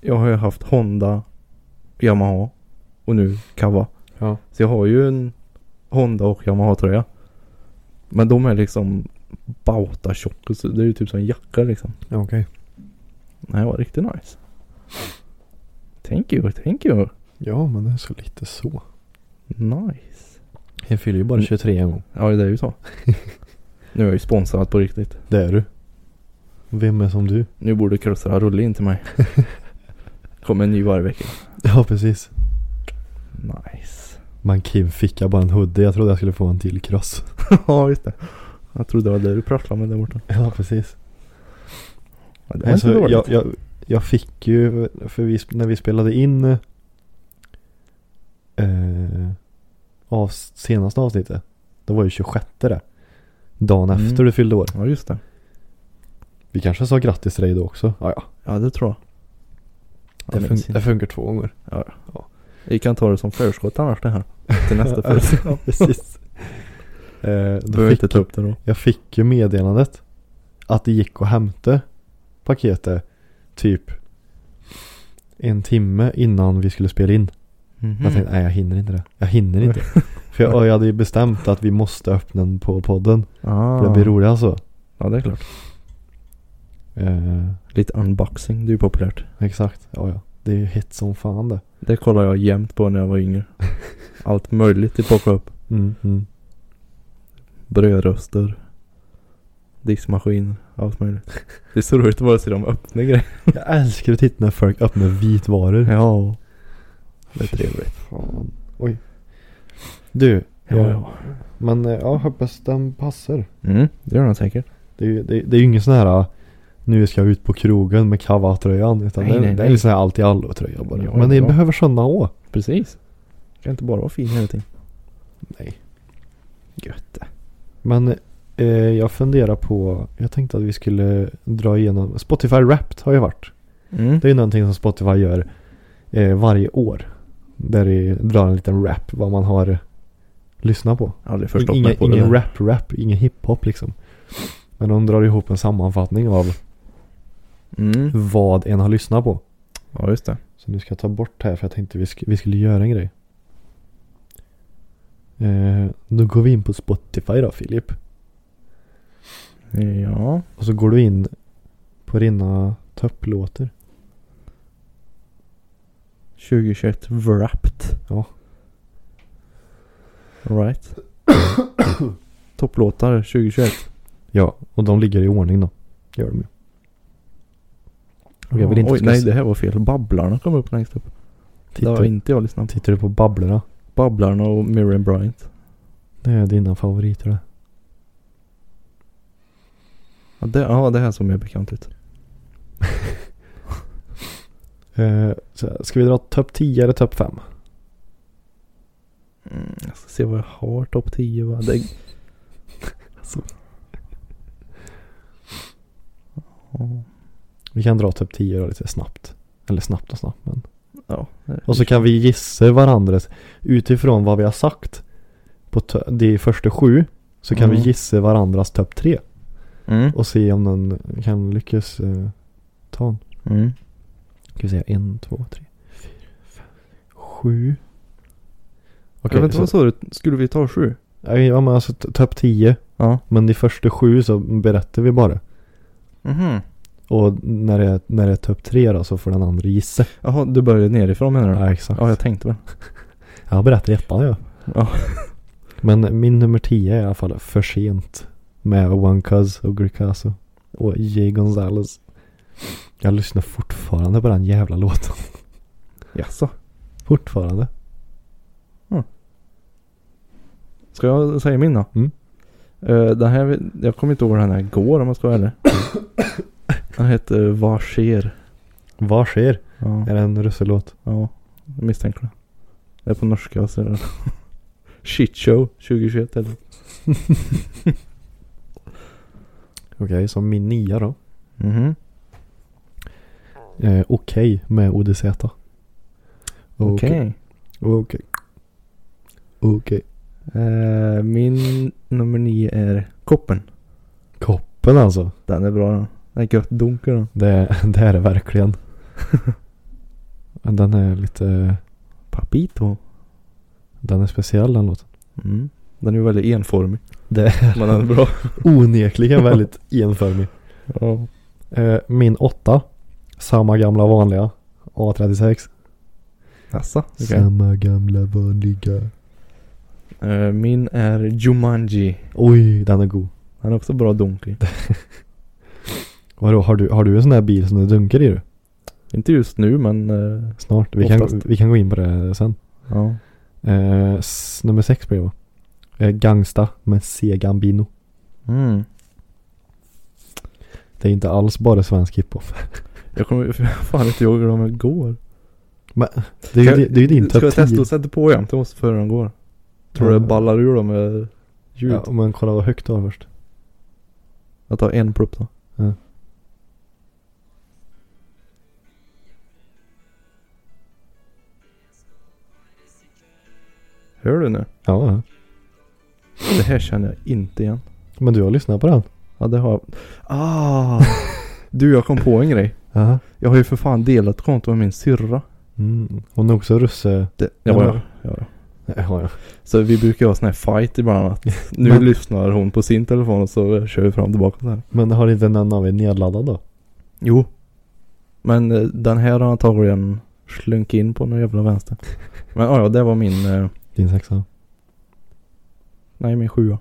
Speaker 1: Jag har ju haft Honda, Yamaha och nu Kawa.
Speaker 2: Ja.
Speaker 1: Så jag har ju en Honda och Yamaha tröja. Men de är liksom bauta tjocka så det är ju typ som en jacka liksom.
Speaker 2: Okej.
Speaker 1: Nej, det var riktigt nice. Thank you, thank you.
Speaker 2: Ja men det är så lite så. Mm.
Speaker 1: Nice.
Speaker 2: Jag fyller ju bara 23 en gång.
Speaker 1: Ja, det är ju så. nu är jag ju sponsrad på riktigt.
Speaker 2: Det är du. Vem är som du? (laughs)
Speaker 1: Nu borde krossarna rulla in till mig. Kommer en ny varje vecka.
Speaker 2: Ja precis.
Speaker 1: Nice. (laughs)
Speaker 2: Man Kim fick jag bara en hoodie. Jag trodde jag skulle få en till kross.
Speaker 1: ja, just det. Jag trodde det var det du pratade med där borta.
Speaker 2: (laughs) Ja precis.
Speaker 1: Ja, det var
Speaker 2: Alltså,
Speaker 1: inte dåligt.
Speaker 2: jag, jag, jag fick ju, för vi, sp- när vi spelade in eh, eh, av, senaste avsnittet. Det var ju 26 det. Dagen
Speaker 1: Mm.
Speaker 2: efter du fyllde år.
Speaker 1: Ja, just det.
Speaker 2: Vi kanske sa grattis till dig då också. Ja, ja.
Speaker 1: Ja, det tror jag.
Speaker 2: Det,
Speaker 1: Jag
Speaker 2: fun-
Speaker 1: minns
Speaker 2: det
Speaker 1: inte.
Speaker 2: funkar två gånger. (laughs)
Speaker 1: Vi kan ta det som förskott annars det här. Till
Speaker 2: (laughs)
Speaker 1: nästa födelsedag.
Speaker 2: ja, precis. eh, då
Speaker 1: Behöver
Speaker 2: fick,
Speaker 1: inte ta upp det då.
Speaker 2: jag fick ju meddelandet att det gick att hämta paketet typ en timme innan vi skulle spela in. Jag tänkte,
Speaker 1: Mm.
Speaker 2: nej jag hinner inte det. Jag hinner
Speaker 1: (laughs)
Speaker 2: inte. För jag, och jag hade ju bestämt att vi måste öppna den på podden.
Speaker 1: ah.
Speaker 2: För det blir roligare så.
Speaker 1: Ja, det är klart.
Speaker 2: Eh,
Speaker 1: Lite unboxing, det är ju populärt.
Speaker 2: exakt. Ja, ja. Det är ju hett som fan det.
Speaker 1: Det kollade jag jämt på när jag var yngre. Allt möjligt i plocka upp.
Speaker 2: Mm, mm.
Speaker 1: Brödröster. Diskmaskin. Allt möjligt. Det är så roligt att bara se dem öppna grejer.
Speaker 2: Jag älskar att titta när folk öppnar vitvaror.
Speaker 1: Ja. Det är trevligt.
Speaker 2: Fan. Oj. Du.
Speaker 1: Ja, ja.
Speaker 2: Men eh, ja, hoppas den passar.
Speaker 1: Mm, det gör den säkert.
Speaker 2: Det är ju det, det är ju ingen sån här nu ska jag ut på krogen med kavatröjan. Utan
Speaker 1: Nej,
Speaker 2: det,
Speaker 1: nej,
Speaker 2: det är
Speaker 1: nej.
Speaker 2: ju sån här allt i allo tröja bara.
Speaker 1: Ja,
Speaker 2: Men ni
Speaker 1: ja.
Speaker 2: behöver sådana å.
Speaker 1: Precis. Kan inte bara vara fin hela tiden.
Speaker 2: Nej.
Speaker 1: Gött.
Speaker 2: Men eh, jag funderar på, jag tänkte att vi skulle dra igenom, Spotify Wrapped har ju varit.
Speaker 1: Mm.
Speaker 2: Det är ju någonting som Spotify gör eh, varje år. Där det drar en liten rap vad man har lyssnat på.
Speaker 1: Aldrig förstått
Speaker 2: ingen
Speaker 1: mig på det
Speaker 2: ingen
Speaker 1: där.
Speaker 2: rap-rap, ingen hiphop liksom. Men de drar ihop en sammanfattning av
Speaker 1: Mm.
Speaker 2: vad en har lyssnat på.
Speaker 1: Ja, just det.
Speaker 2: Så nu ska jag ta bort här för jag tänkte vi, sk- vi skulle göra en grej. Eh, då går vi in på Spotify då Filip.
Speaker 1: Ja.
Speaker 2: Och så går du in på dina topplåtar.
Speaker 1: 2021 Wrapped.
Speaker 2: Ja.
Speaker 1: Right. (coughs) Topplåtar 2021.
Speaker 2: Ja, och de ligger i ordning då. Gör de ju. Och jag vill inte
Speaker 1: Oj,
Speaker 2: ska
Speaker 1: nej
Speaker 2: s-
Speaker 1: det här var fel. Babblarna kom upp längst upp. Det har
Speaker 2: Tittar,
Speaker 1: inte jag lyssnat på.
Speaker 2: tittar du på Babblarna?
Speaker 1: Babblarna och Miriam Bryant.
Speaker 2: Det är dina favoriter det.
Speaker 1: Ja det, ja, det här som är bekant ut.
Speaker 2: Eh, så ska vi dra topp 10 eller topp 5?
Speaker 1: Jag ska se vad jag har topp 10 va. Det... alltså.
Speaker 2: Vi kan dra topp 10 då lite snabbt. Eller snabbt och snabbt men.
Speaker 1: Ja.
Speaker 2: Och så kan vi gissa varandras utifrån vad vi har sagt på tö- de första sju. Så kan
Speaker 1: Mm.
Speaker 2: vi gissa varandras topp tre
Speaker 1: Mm.
Speaker 2: och se om någon kan lyckas eh, ta en.
Speaker 1: Mm.
Speaker 2: Ska vi säga en, två, tre, fyra, fem, sju.
Speaker 1: Okay,
Speaker 2: Okej,
Speaker 1: vänta
Speaker 2: så,
Speaker 1: vad sa du? Skulle vi ta sju?
Speaker 2: ja, ja, men alltså t- topp tio.
Speaker 1: Ja.
Speaker 2: Men de första sju så berättar vi bara.
Speaker 1: Mhm.
Speaker 2: Och när det är, när det är topp tre då så får den andra gissa.
Speaker 1: Jaha, du började nerifrån menar du?
Speaker 2: Ja, exakt.
Speaker 1: Ja, jag tänkte väl.
Speaker 2: Jag berättar ettan ja.
Speaker 1: Ja.
Speaker 2: (laughs) Men min nummer 10 är i alla fall För sent. Med One Cuz och Gricasso. Och Jay Gonzales. Jag lyssnar fortfarande på den jävla låten. (laughs)
Speaker 1: Jaså?
Speaker 2: Fortfarande.
Speaker 1: Ska jag säga min då?
Speaker 2: Mm.
Speaker 1: Eh, den här, jag kommer inte ihåg vad den här går om jag ska vara
Speaker 2: (coughs)
Speaker 1: ärlig. Den heter Vad sker?
Speaker 2: Vad sker?
Speaker 1: Ja,
Speaker 2: Är det en russelåt?
Speaker 1: ja jag misstänker det. Det är på norska så är det. Shit show 2021 eller?
Speaker 2: Okej, så min nia då.
Speaker 1: Mhm.
Speaker 2: Eh, Okej med ODZ.
Speaker 1: Okej.
Speaker 2: Okej. Okej.
Speaker 1: Eh, min nummer nio är Koppen.
Speaker 2: Koppen alltså.
Speaker 1: Den är bra den. Den är gött dunkel den.
Speaker 2: Det, det är (laughs) det verkligen. den är lite...
Speaker 1: Papito.
Speaker 2: Den är speciell den låten.
Speaker 1: Mm. Den är ju väldigt enformig.
Speaker 2: Det
Speaker 1: (laughs)
Speaker 2: är
Speaker 1: Men den är bra.
Speaker 2: onekligen väldigt (laughs) enformig.
Speaker 1: ja.
Speaker 2: Eh, min åtta. Samma gamla vanliga. A36.
Speaker 1: Jaså? Okej.
Speaker 2: Samma gamla vanliga.
Speaker 1: Eh, min är Jumanji.
Speaker 2: Oj, den är god.
Speaker 1: Den är också bra dunkel.
Speaker 2: Vadå, har du, har du en sån här bil som du dunkar i du?
Speaker 1: Inte just nu men eh,
Speaker 2: Snart. Vi kan,
Speaker 1: Oftast.
Speaker 2: vi kan gå in på det sen.
Speaker 1: ja.
Speaker 2: Eh, s- nummer sex blir det va? Eh, Gangsta med C. Gambino.
Speaker 1: Mm.
Speaker 2: Det är inte alls bara svensk hiphop.
Speaker 1: (laughs) Jag kommer fan inte ihåg hur de går.
Speaker 2: Det är
Speaker 1: Ska-
Speaker 2: ju, det är ju din
Speaker 1: Ska
Speaker 2: topp
Speaker 1: jag testa
Speaker 2: 10.
Speaker 1: att sätta på jämt? Jag måste före de går. Tror du det ballar ur dem med ljud?
Speaker 2: Ja, men kolla vad högt du har först.
Speaker 1: Jag tar en plupp då.
Speaker 2: Ja.
Speaker 1: Hör du nu?
Speaker 2: Ja, ja.
Speaker 1: Det här känner jag inte igen.
Speaker 2: Men du har lyssnat på den?
Speaker 1: Ja det har jag. Ah! du jag kom på en grej.
Speaker 2: Aha.
Speaker 1: Jag har ju för fan delat konto med min syrra.
Speaker 2: Mm. Hon är också russe...
Speaker 1: Det,
Speaker 2: Ja,
Speaker 1: ja,
Speaker 2: men-
Speaker 1: ja, ja.
Speaker 2: Ja, ja.
Speaker 1: Så vi brukar ha sån här fight ibland att nu
Speaker 2: Men-
Speaker 1: lyssnar hon på sin telefon och så kör vi fram och tillbaka så här.
Speaker 2: Men har inte någon av er nedladdad då?
Speaker 1: Jo. Men eh, den här har antagligen slunkit in på någon jävla vänster. Men ja, ja, det var min, eh,
Speaker 2: Din sexa?
Speaker 1: nej min sjua.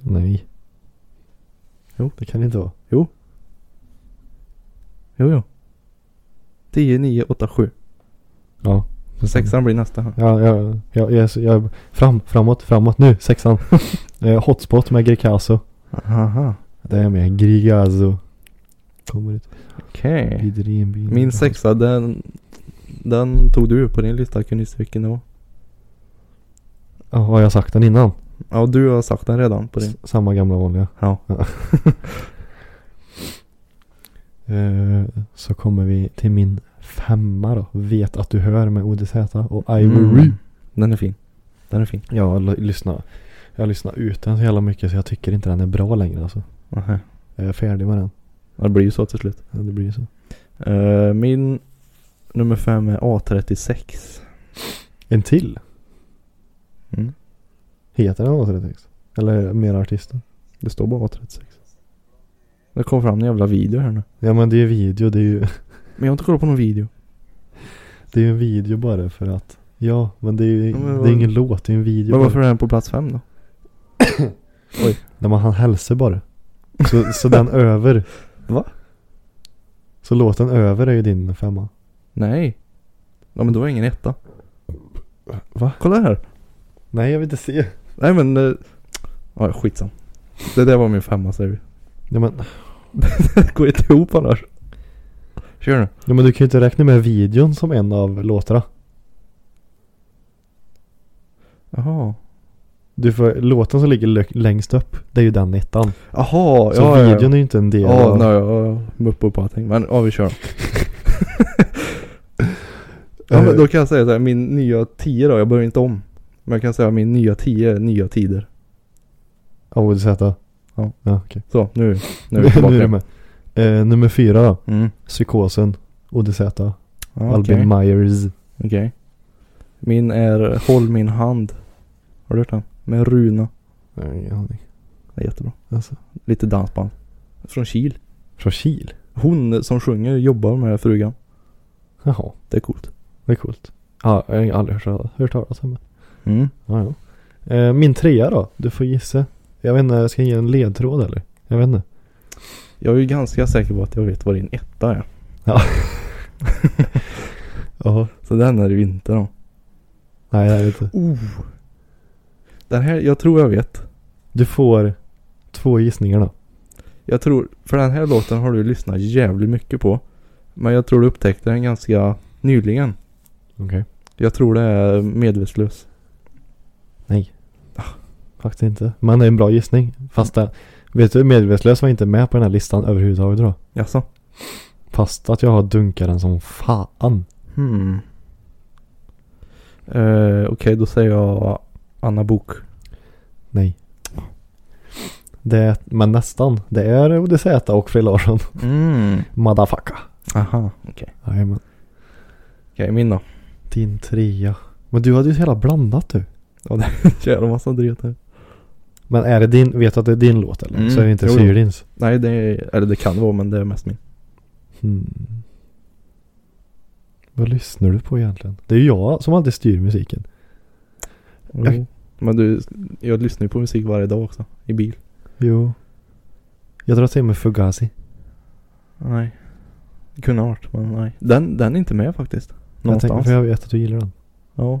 Speaker 2: Nej.
Speaker 1: Jo.
Speaker 2: Det kan det inte vara.
Speaker 1: Jo, jo. 10, 9, 8, 7.
Speaker 2: Ja.
Speaker 1: Sexan blir nästa. här.
Speaker 2: Ja, ja, ja, jag är så- jag, fram, framåt, framåt nu,
Speaker 1: (laughs)
Speaker 2: sexan. eh, hotspot med Gricasso.
Speaker 1: Aha,
Speaker 2: Det är med Grigazo. Kommer ut.
Speaker 1: okej.
Speaker 2: Glider i en bil.
Speaker 1: Min sexa, den, den tog du på din lista. Kunde gissa vilken det var?
Speaker 2: Ja, har jag sagt den innan?
Speaker 1: Ja, du har sagt den redan på din.
Speaker 2: S- samma gamla vanliga.
Speaker 1: Ja.
Speaker 2: eh, så kommer vi till min femma då. Vet att du hör med ODZ och Ivory.
Speaker 1: Mm. Den är fin. Den är fin.
Speaker 2: Jag har l- lyssnat. Jag har lyssnat ut den så jävla mycket så jag tycker inte den är bra längre alltså.
Speaker 1: Aha.
Speaker 2: Jag är färdig med den.
Speaker 1: Ja, Det blir ju så till slut.
Speaker 2: Ja, det blir ju så.
Speaker 1: Eh, min nummer fem är A36.
Speaker 2: En till.
Speaker 1: Mm.
Speaker 2: Heter den A36? Eller är det mer artister?
Speaker 1: Det står bara A36. Det kom fram en jävla video här nu.
Speaker 2: Ja men det är ju video. Det är ju (laughs)
Speaker 1: Men jag har inte kollat på någon video.
Speaker 2: det är ju en video bara för att. Ja men det är ju
Speaker 1: Ja, men
Speaker 2: det
Speaker 1: vad-
Speaker 2: är ingen låt. Det är en video.
Speaker 1: Men
Speaker 2: bara.
Speaker 1: varför är den på plats fem då?
Speaker 2: När man han hälsar bara. Så,
Speaker 1: (laughs)
Speaker 2: så den över.
Speaker 1: Va?
Speaker 2: Så låten över är ju din femma.
Speaker 1: Nej. Ja men då är ingen etta.
Speaker 2: Va?
Speaker 1: Kolla här.
Speaker 2: Nej jag vill inte se.
Speaker 1: Nej men. eh, Ja skitsam. Det där var min femma säger vi. (laughs)
Speaker 2: Ja men,
Speaker 1: Det går inte ihop annars. Kör nu.
Speaker 2: ja, men du kan ju inte räkna med videon som en av låtarna.
Speaker 1: Jaha.
Speaker 2: Du får, låten som ligger lö- längst upp, det är ju den ettan.
Speaker 1: Jaha.
Speaker 2: Så videon är ju inte en del
Speaker 1: Ja, Eh.
Speaker 2: av...
Speaker 1: nej, ja, ja. Mupp upp allting. Men ja, vi kör. ja, men då kan jag säga så här, min nya 10 då, jag börjar inte om. Men jag kan säga att min nya 10 är nya tider.
Speaker 2: Av ODZ. Ja,
Speaker 1: Ja.
Speaker 2: Eh, ja okej.
Speaker 1: Så, nu, (laughs) nu är vi tillbaka.
Speaker 2: (laughs) nu är du med. Eh, nummer fyra då.
Speaker 1: Mm.
Speaker 2: Psykosen. ODZ.
Speaker 1: Ja,
Speaker 2: Albin
Speaker 1: Okej.
Speaker 2: Myers.
Speaker 1: Okej. Min är Håll min hand. Har du hört den? Med Runa.
Speaker 2: Nej, ingen aning.
Speaker 1: Det är jättebra.
Speaker 2: Alltså.
Speaker 1: Lite dansband. Från Kil.
Speaker 2: Från Kil.
Speaker 1: Hon som sjunger jobbar med frugan.
Speaker 2: Jaha.
Speaker 1: Det är coolt.
Speaker 2: Det är coolt. Ja, jag har aldrig hört, hört talas om det.
Speaker 1: Mm.
Speaker 2: Ja, ja. Eh, Min trea då? Du får gissa. Jag vet inte, ska jag ge en ledtråd eller? Jag vet inte.
Speaker 1: Jag är ju ganska säker på att jag vet vad din etta är. (laughs)
Speaker 2: Jaha.
Speaker 1: Så den är det ju inte då.
Speaker 2: Nej, jag vet inte.
Speaker 1: Oh. Den här, jag tror jag vet.
Speaker 2: Du får två gissningar då.
Speaker 1: Jag tror, för den här låten har du lyssnat jävligt mycket på. Men jag tror du upptäckte den ganska nyligen.
Speaker 2: Okej.
Speaker 1: Jag tror det är medvetslös.
Speaker 2: Nej. Faktiskt inte. Men det är en bra gissning. Fast det, vet du, medvetslös var inte med på den här listan överhuvudtaget då.
Speaker 1: Jaså?
Speaker 2: Fast att jag har dunkat den som fan.
Speaker 1: Hmm. Eh, Okej, då säger jag Anna Bok.
Speaker 2: Nej. Det, men nästan. Det är ODZ och Frej Larsson.
Speaker 1: Mm.
Speaker 2: Motherfucka.
Speaker 1: Aha, okej.
Speaker 2: Jajamän.
Speaker 1: Okej, min då. (laughs)
Speaker 2: Din trea. Men du hade ju så jävla blandat du.
Speaker 1: Jävla massa dret här.
Speaker 2: Men är det din, vet du att det är din låt eller?
Speaker 1: Mm,
Speaker 2: Så är det inte
Speaker 1: jo, jo.
Speaker 2: Syrins.
Speaker 1: Nej, det är, eller det kan vara, men det är mest min.
Speaker 2: Hmm. Vad lyssnar du på egentligen? Det är ju jag som alltid styr musiken.
Speaker 1: Jo. Oh. Men du, jag lyssnar ju på musik varje dag också. I bil.
Speaker 2: Jo. Jag drar till med Fugazi.
Speaker 1: Nej. Kunde ha varit, men nej. Den, den är inte med faktiskt.
Speaker 2: Jag tänker,
Speaker 1: Någonstans.
Speaker 2: för jag vet att du gillar den.
Speaker 1: Ja,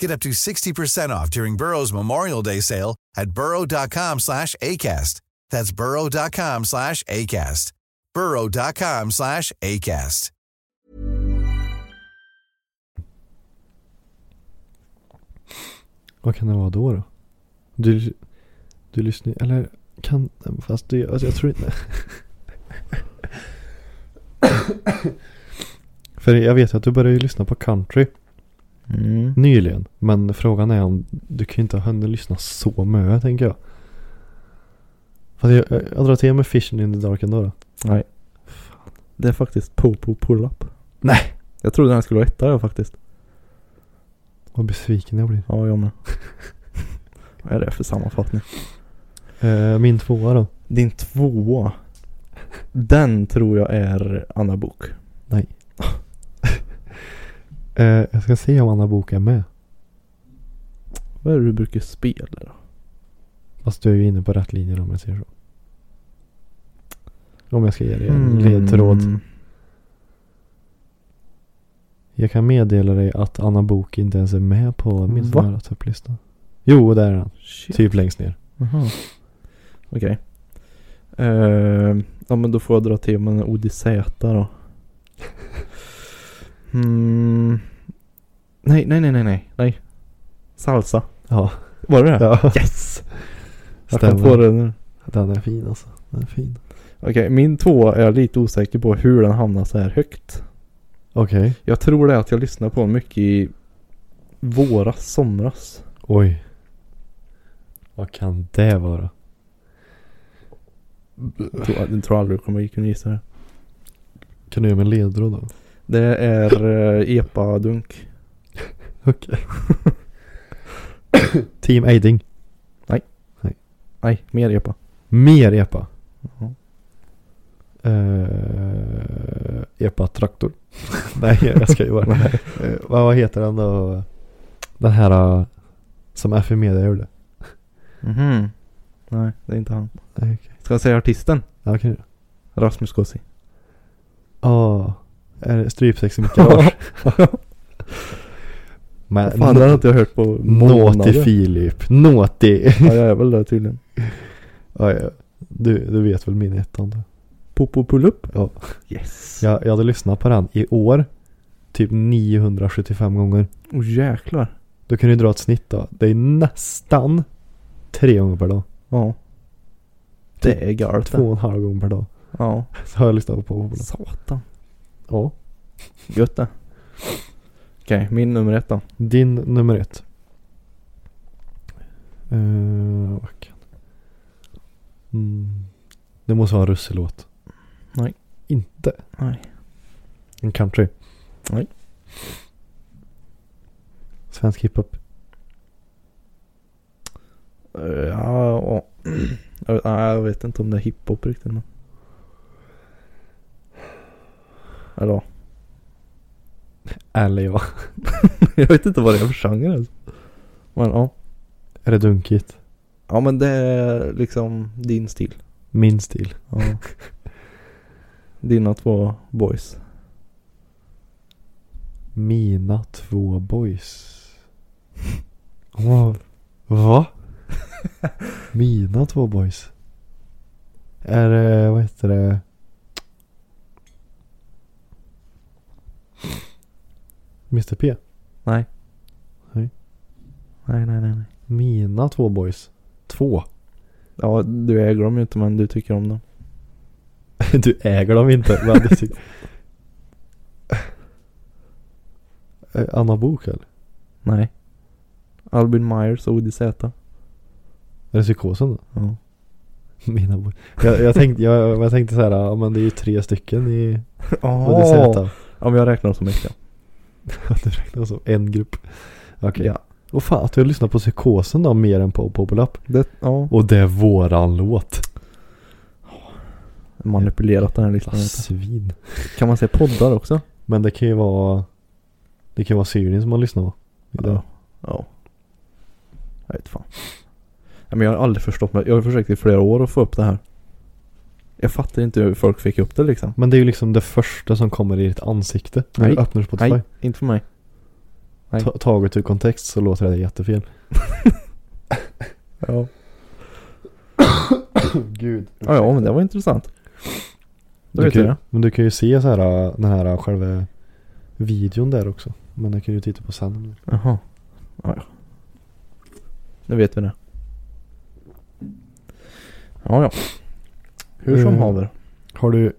Speaker 3: Get up to 60% off during Burrow's Memorial Day sale at burrow.com slash ACAST. That's burrow.com slash ACAST. burrow.com slash ACAST.
Speaker 2: Vad kan det vara då då? Du, du lyssnar eller kan, fast det, alltså jag tror inte. (coughs) För jag vet ju att du började ju lyssna på country
Speaker 1: Mm.
Speaker 2: nyligen. Men frågan är om du kan ju inte ha hunnit lyssna så mycket tänker jag. eh, Fast jag, jag drar till med Fishing in the Dark ändå då.
Speaker 1: Nej.
Speaker 2: Fan.
Speaker 1: Det är faktiskt Popo Pull-Up.
Speaker 2: Nej.
Speaker 1: Jag trodde den skulle vara etta jag faktiskt.
Speaker 2: Vad besviken jag blir.
Speaker 1: Ja, jag med. Vad är det för sammanfattning?
Speaker 2: Eh, min tvåa då.
Speaker 1: Din tvåa. Den tror jag är Anna Bok.
Speaker 2: Eh, jag ska se om Anna Book är med.
Speaker 1: Vad är det du brukar spela då?
Speaker 2: Fast du är ju inne på rätt linje då, om jag säger så. Om jag ska ge dig en
Speaker 1: Mm.
Speaker 2: ledtråd. Jag kan meddela dig att Anna Book inte ens är med på min
Speaker 1: Va?
Speaker 2: snöra topplista. Jo, där är han.
Speaker 1: Shit.
Speaker 2: Typ längst ner.
Speaker 1: Jaha. Okej. Eh, ja men då får jag dra till med en ODZ (laughs) då. Mm. Nej, nej, nej, nej, nej, nej. Salsa.
Speaker 2: Ja,
Speaker 1: Var det det? (laughs)
Speaker 2: Ja.
Speaker 1: Yes! Jag kom på
Speaker 2: stämmer.
Speaker 1: det nu.
Speaker 2: Den är fin alltså. Den är fin.
Speaker 1: Okej, min två är jag lite osäker på hur den hamnar så här högt.
Speaker 2: Okej.
Speaker 1: Jag tror det är att jag lyssnar på den mycket i våras, somras.
Speaker 2: Oj. Vad kan det vara?
Speaker 1: Jag tror, jag tror aldrig du kommer kunna gissa det.
Speaker 2: Kan du ge mig en ledtråd då?
Speaker 1: Det är eh, epa-dunk.
Speaker 2: Okej. Team Aiding.
Speaker 1: Nej, mer epa.
Speaker 2: Mer E EPA.
Speaker 1: Jaha.
Speaker 2: Eh, EPA Traktor. (laughs) Nej, jag ska
Speaker 1: (laughs)
Speaker 2: ju vara. Eh, vad, vad heter den då? Den här eh, som FE Media gjorde.
Speaker 1: Mhm. Nej, det är inte han.
Speaker 2: Nej,
Speaker 1: Ska jag säga artisten?
Speaker 2: Ja, kan du?
Speaker 1: Rasmus (laughs) Kossi.
Speaker 2: Ja. Är det strypsex i mitt
Speaker 1: (laughs)
Speaker 2: garage? Men,
Speaker 1: Fan, den har inte jag hört på månader.
Speaker 2: Nåti Filip. Nåti. (laughs)
Speaker 1: Ja, jag är väl där tydligen.
Speaker 2: ja, ja. Du, du vet väl min ettan då?
Speaker 1: Popo pull-up?
Speaker 2: Ja.
Speaker 1: Yes. Ja.
Speaker 2: Jag, jag hade lyssnat på den i år. Typ 975 gånger.
Speaker 1: Oh, jäklar.
Speaker 2: Då kan du dra ett snitt då. Det är nästan tre gånger per dag.
Speaker 1: Ja. Det är galet.
Speaker 2: Två och en halv gång per dag. (laughs)
Speaker 1: Ja.
Speaker 2: Så har jag lyssnat på Ola.
Speaker 1: Satan.
Speaker 2: Ja.
Speaker 1: Gött det. Okej, min nummer ett då.
Speaker 2: Din nummer ett. Eh, vad kan... mm. Det måste vara en russelåt.
Speaker 1: Nej.
Speaker 2: Inte?
Speaker 1: Nej.
Speaker 2: En country?
Speaker 1: Nej.
Speaker 2: Svensk hiphop?
Speaker 1: Eh, Ja, och... (clears throat) Jag vet- nej, jag vet inte om det är hiphop riktigt men... Eller ja. (laughs)
Speaker 2: Eller ja.
Speaker 1: Jag vet inte vad det är för genre alltså. Men ja.
Speaker 2: Är det dunkigt?
Speaker 1: Ja men det är liksom din stil.
Speaker 2: Min stil?
Speaker 1: Ja. Dina två boys.
Speaker 2: Mina två boys. (laughs) Åh, va? (laughs) Mina två boys. Är det, vad heter det? Mr P?
Speaker 1: Nej.
Speaker 2: Nej.
Speaker 1: Nej nej nej nej.
Speaker 2: Mina två boys. Två? (laughs)
Speaker 1: Ja du äger dem ju inte men du tycker om dem.
Speaker 2: Du äger dem inte. Men du tyck- Eh, (laughs) Anna Book eller?
Speaker 1: Nej. Albin Myers och ODZ.
Speaker 2: Är det psykosen då? (laughs)
Speaker 1: (laughs) Ja.
Speaker 2: Mina boys. Jag, jag, tänkte, jag, jag tänkte så här, ja men det är ju tre stycken i
Speaker 1: Oh.
Speaker 2: ODZ.
Speaker 1: Ja men jag räknar dem som ett ja.
Speaker 2: (laughs) Du räknar som en grupp. Okej.
Speaker 1: Ja.
Speaker 2: Och fan att jag lyssnar på psykosen då mer än på Popolap.
Speaker 1: Det, ja.
Speaker 2: Och det är våran låt.
Speaker 1: Manipulerat den här listan.
Speaker 2: Jävla Svin.
Speaker 1: Kan man se poddar också?
Speaker 2: Men det kan ju vara Det kan ju vara Syrien som man lyssnar på.
Speaker 1: Ja. Ja. Jag vet fan. Nej, men jag har aldrig förstått mig. Jag har försökt i flera år att få upp det här. Jag fattar inte hur folk fick upp det liksom.
Speaker 2: Men det är ju liksom det första som kommer i ditt ansikte när
Speaker 1: Nej.
Speaker 2: du öppnar Spotify.
Speaker 1: Nej, inte för mig. nej.
Speaker 2: Ta- Taget ur kontext så låter det jättefel.
Speaker 1: Ja.
Speaker 2: Gud.
Speaker 1: Ja, men det var intressant. Då
Speaker 2: Du
Speaker 1: vet
Speaker 2: kan,
Speaker 1: jag
Speaker 2: ju-
Speaker 1: det.
Speaker 2: men du kan ju se så här, äh, den här äh, själva videon där också. Men det kan du ju titta på sen.
Speaker 1: Jaha. Ja, ja. Nu vet vi det. Ja, ja. Hur som
Speaker 2: Mm.
Speaker 1: haver.
Speaker 2: Har du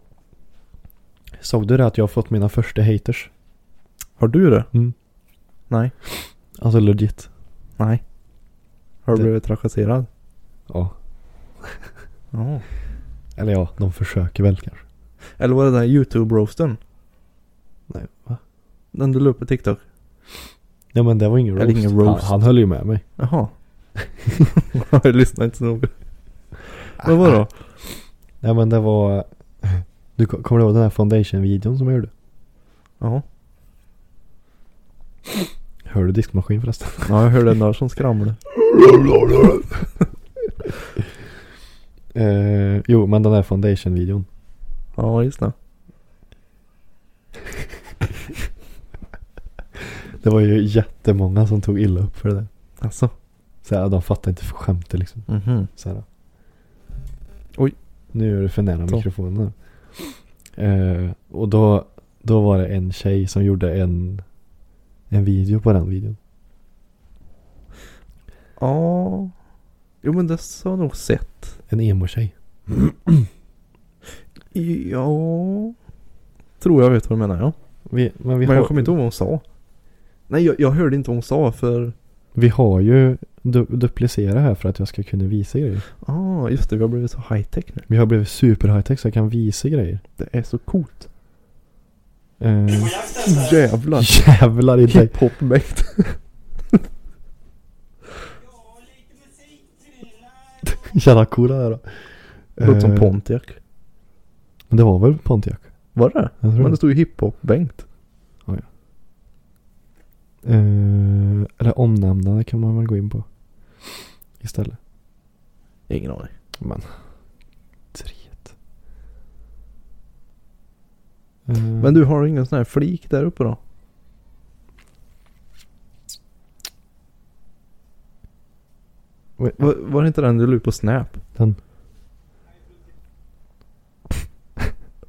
Speaker 2: Såg du det att jag har fått mina första haters?
Speaker 1: Har du det?
Speaker 2: Mm.
Speaker 1: Nej.
Speaker 2: Alltså legit.
Speaker 1: Nej. Har du
Speaker 2: Det-
Speaker 1: blivit trakasserad?
Speaker 2: Ja.
Speaker 1: Ja.
Speaker 2: Eller ja, de försöker väl kanske.
Speaker 1: Eller var det den här YouTube-roasten?
Speaker 2: Nej, va?
Speaker 1: Den du la upp på TikTok?
Speaker 2: Ja men det var ingen
Speaker 1: Eller
Speaker 2: roast.
Speaker 1: ingen roast.
Speaker 2: Han, han höll ju med mig.
Speaker 1: Jaha. (laughs) jag lyssnar inte så noga. Vad var det då?
Speaker 2: Nej men det var... (laughs) Du ko- kommer du ihåg den här foundation-videon som jag gjorde?
Speaker 1: Jaha.
Speaker 2: Hör du diskmaskin förresten?
Speaker 1: Ja, jag hörde den där som skramlade.
Speaker 2: (laughs) Eh, jo men den här foundation-videon.
Speaker 1: Ja, just det.
Speaker 2: Det var ju jättemånga som tog illa upp för det där.
Speaker 1: Alltså.
Speaker 2: Så här, de fattade inte för skämtet liksom.
Speaker 1: Mhm.
Speaker 2: Så här.
Speaker 1: Oj.
Speaker 2: Nu är du för nära
Speaker 1: Så.
Speaker 2: mikrofonen. Eh, och då, då var det en tjej som gjorde en, en video på den videon.
Speaker 1: Ja. Jo, men det har jag nog sett.
Speaker 2: En emo-tjej.
Speaker 1: Ja. Tror jag vet vad du menar, ja.
Speaker 2: Vi, men vi,
Speaker 1: Men jag
Speaker 2: har,
Speaker 1: kommer inte ihåg vad hon sa. Nej, jag, jag hörde inte vad hon sa för...
Speaker 2: vi har ju du, duplicerat här för att jag ska kunna visa grejer.
Speaker 1: Ah, just det. Vi har blivit så high-tech nu.
Speaker 2: Vi har blivit super high tech så jag kan visa grejer.
Speaker 1: Det är så coolt.
Speaker 2: Eh,
Speaker 1: Jävlar.
Speaker 2: jävlar i dig.
Speaker 1: Hiphop-mäkt.
Speaker 2: (laughs) Jävla coola där då.
Speaker 1: Låter som
Speaker 2: Eh,
Speaker 1: Pontiac.
Speaker 2: Men det var väl Pontiac?
Speaker 1: Var det
Speaker 2: Jag tror
Speaker 1: Men
Speaker 2: det.
Speaker 1: det stod ju hiphop-Bengt.
Speaker 2: Eh, eller omnämnande kan man väl gå in på. Istället.
Speaker 1: Ingen aning.
Speaker 2: Men. Tret. Eh,
Speaker 1: Men du, har du ingen sån här flik där uppe då?
Speaker 2: Oj.
Speaker 1: Var, var det inte den du la ut på Snap?
Speaker 2: Den.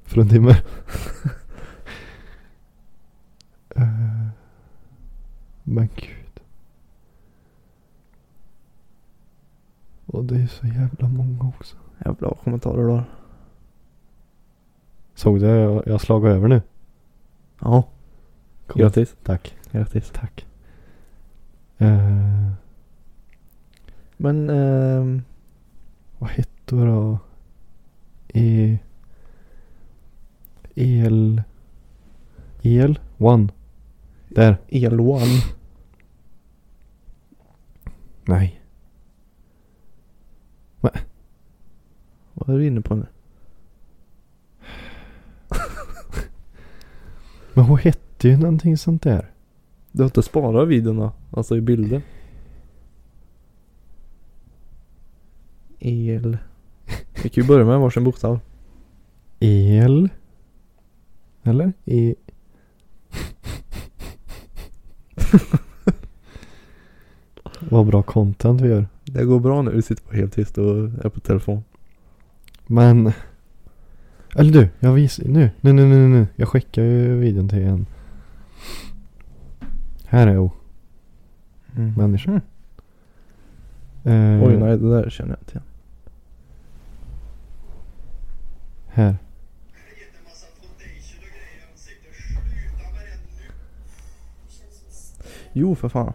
Speaker 2: Från Timmer. Eh, Men gud. Och det är så jävla många också.
Speaker 1: Jävla kommentarer då.
Speaker 2: Såg du? Jag jag slagit över nu.
Speaker 1: Ja,
Speaker 2: Kom.
Speaker 1: grattis.
Speaker 2: Tack.
Speaker 1: Grattis.
Speaker 2: Tack. Eh,
Speaker 1: Men ehm,
Speaker 2: Vad hette det då? E... El... El? One. Där.
Speaker 1: el one
Speaker 2: Nej.
Speaker 1: Vad är du inne på nu?
Speaker 2: Men hon hette ju någonting sånt där.
Speaker 1: Du har inte sparat videon då? Alltså i bilden? El. Vi kan ju börja med varsin bokstav.
Speaker 2: El? Eller? E... (laughs) Vad bra content vi gör.
Speaker 1: Det går bra nu. Vi sitter på helt tyst och är på telefon.
Speaker 2: Men... Eller du, jag visar... Nu, nu, nu, nu, nu. Jag skickar ju videon till en... Här är hon. Människa.
Speaker 1: Mm.
Speaker 2: Eh,
Speaker 1: Oj, nej det där känner jag inte igen.
Speaker 2: Här.
Speaker 1: Jo, för fan.
Speaker 4: Vad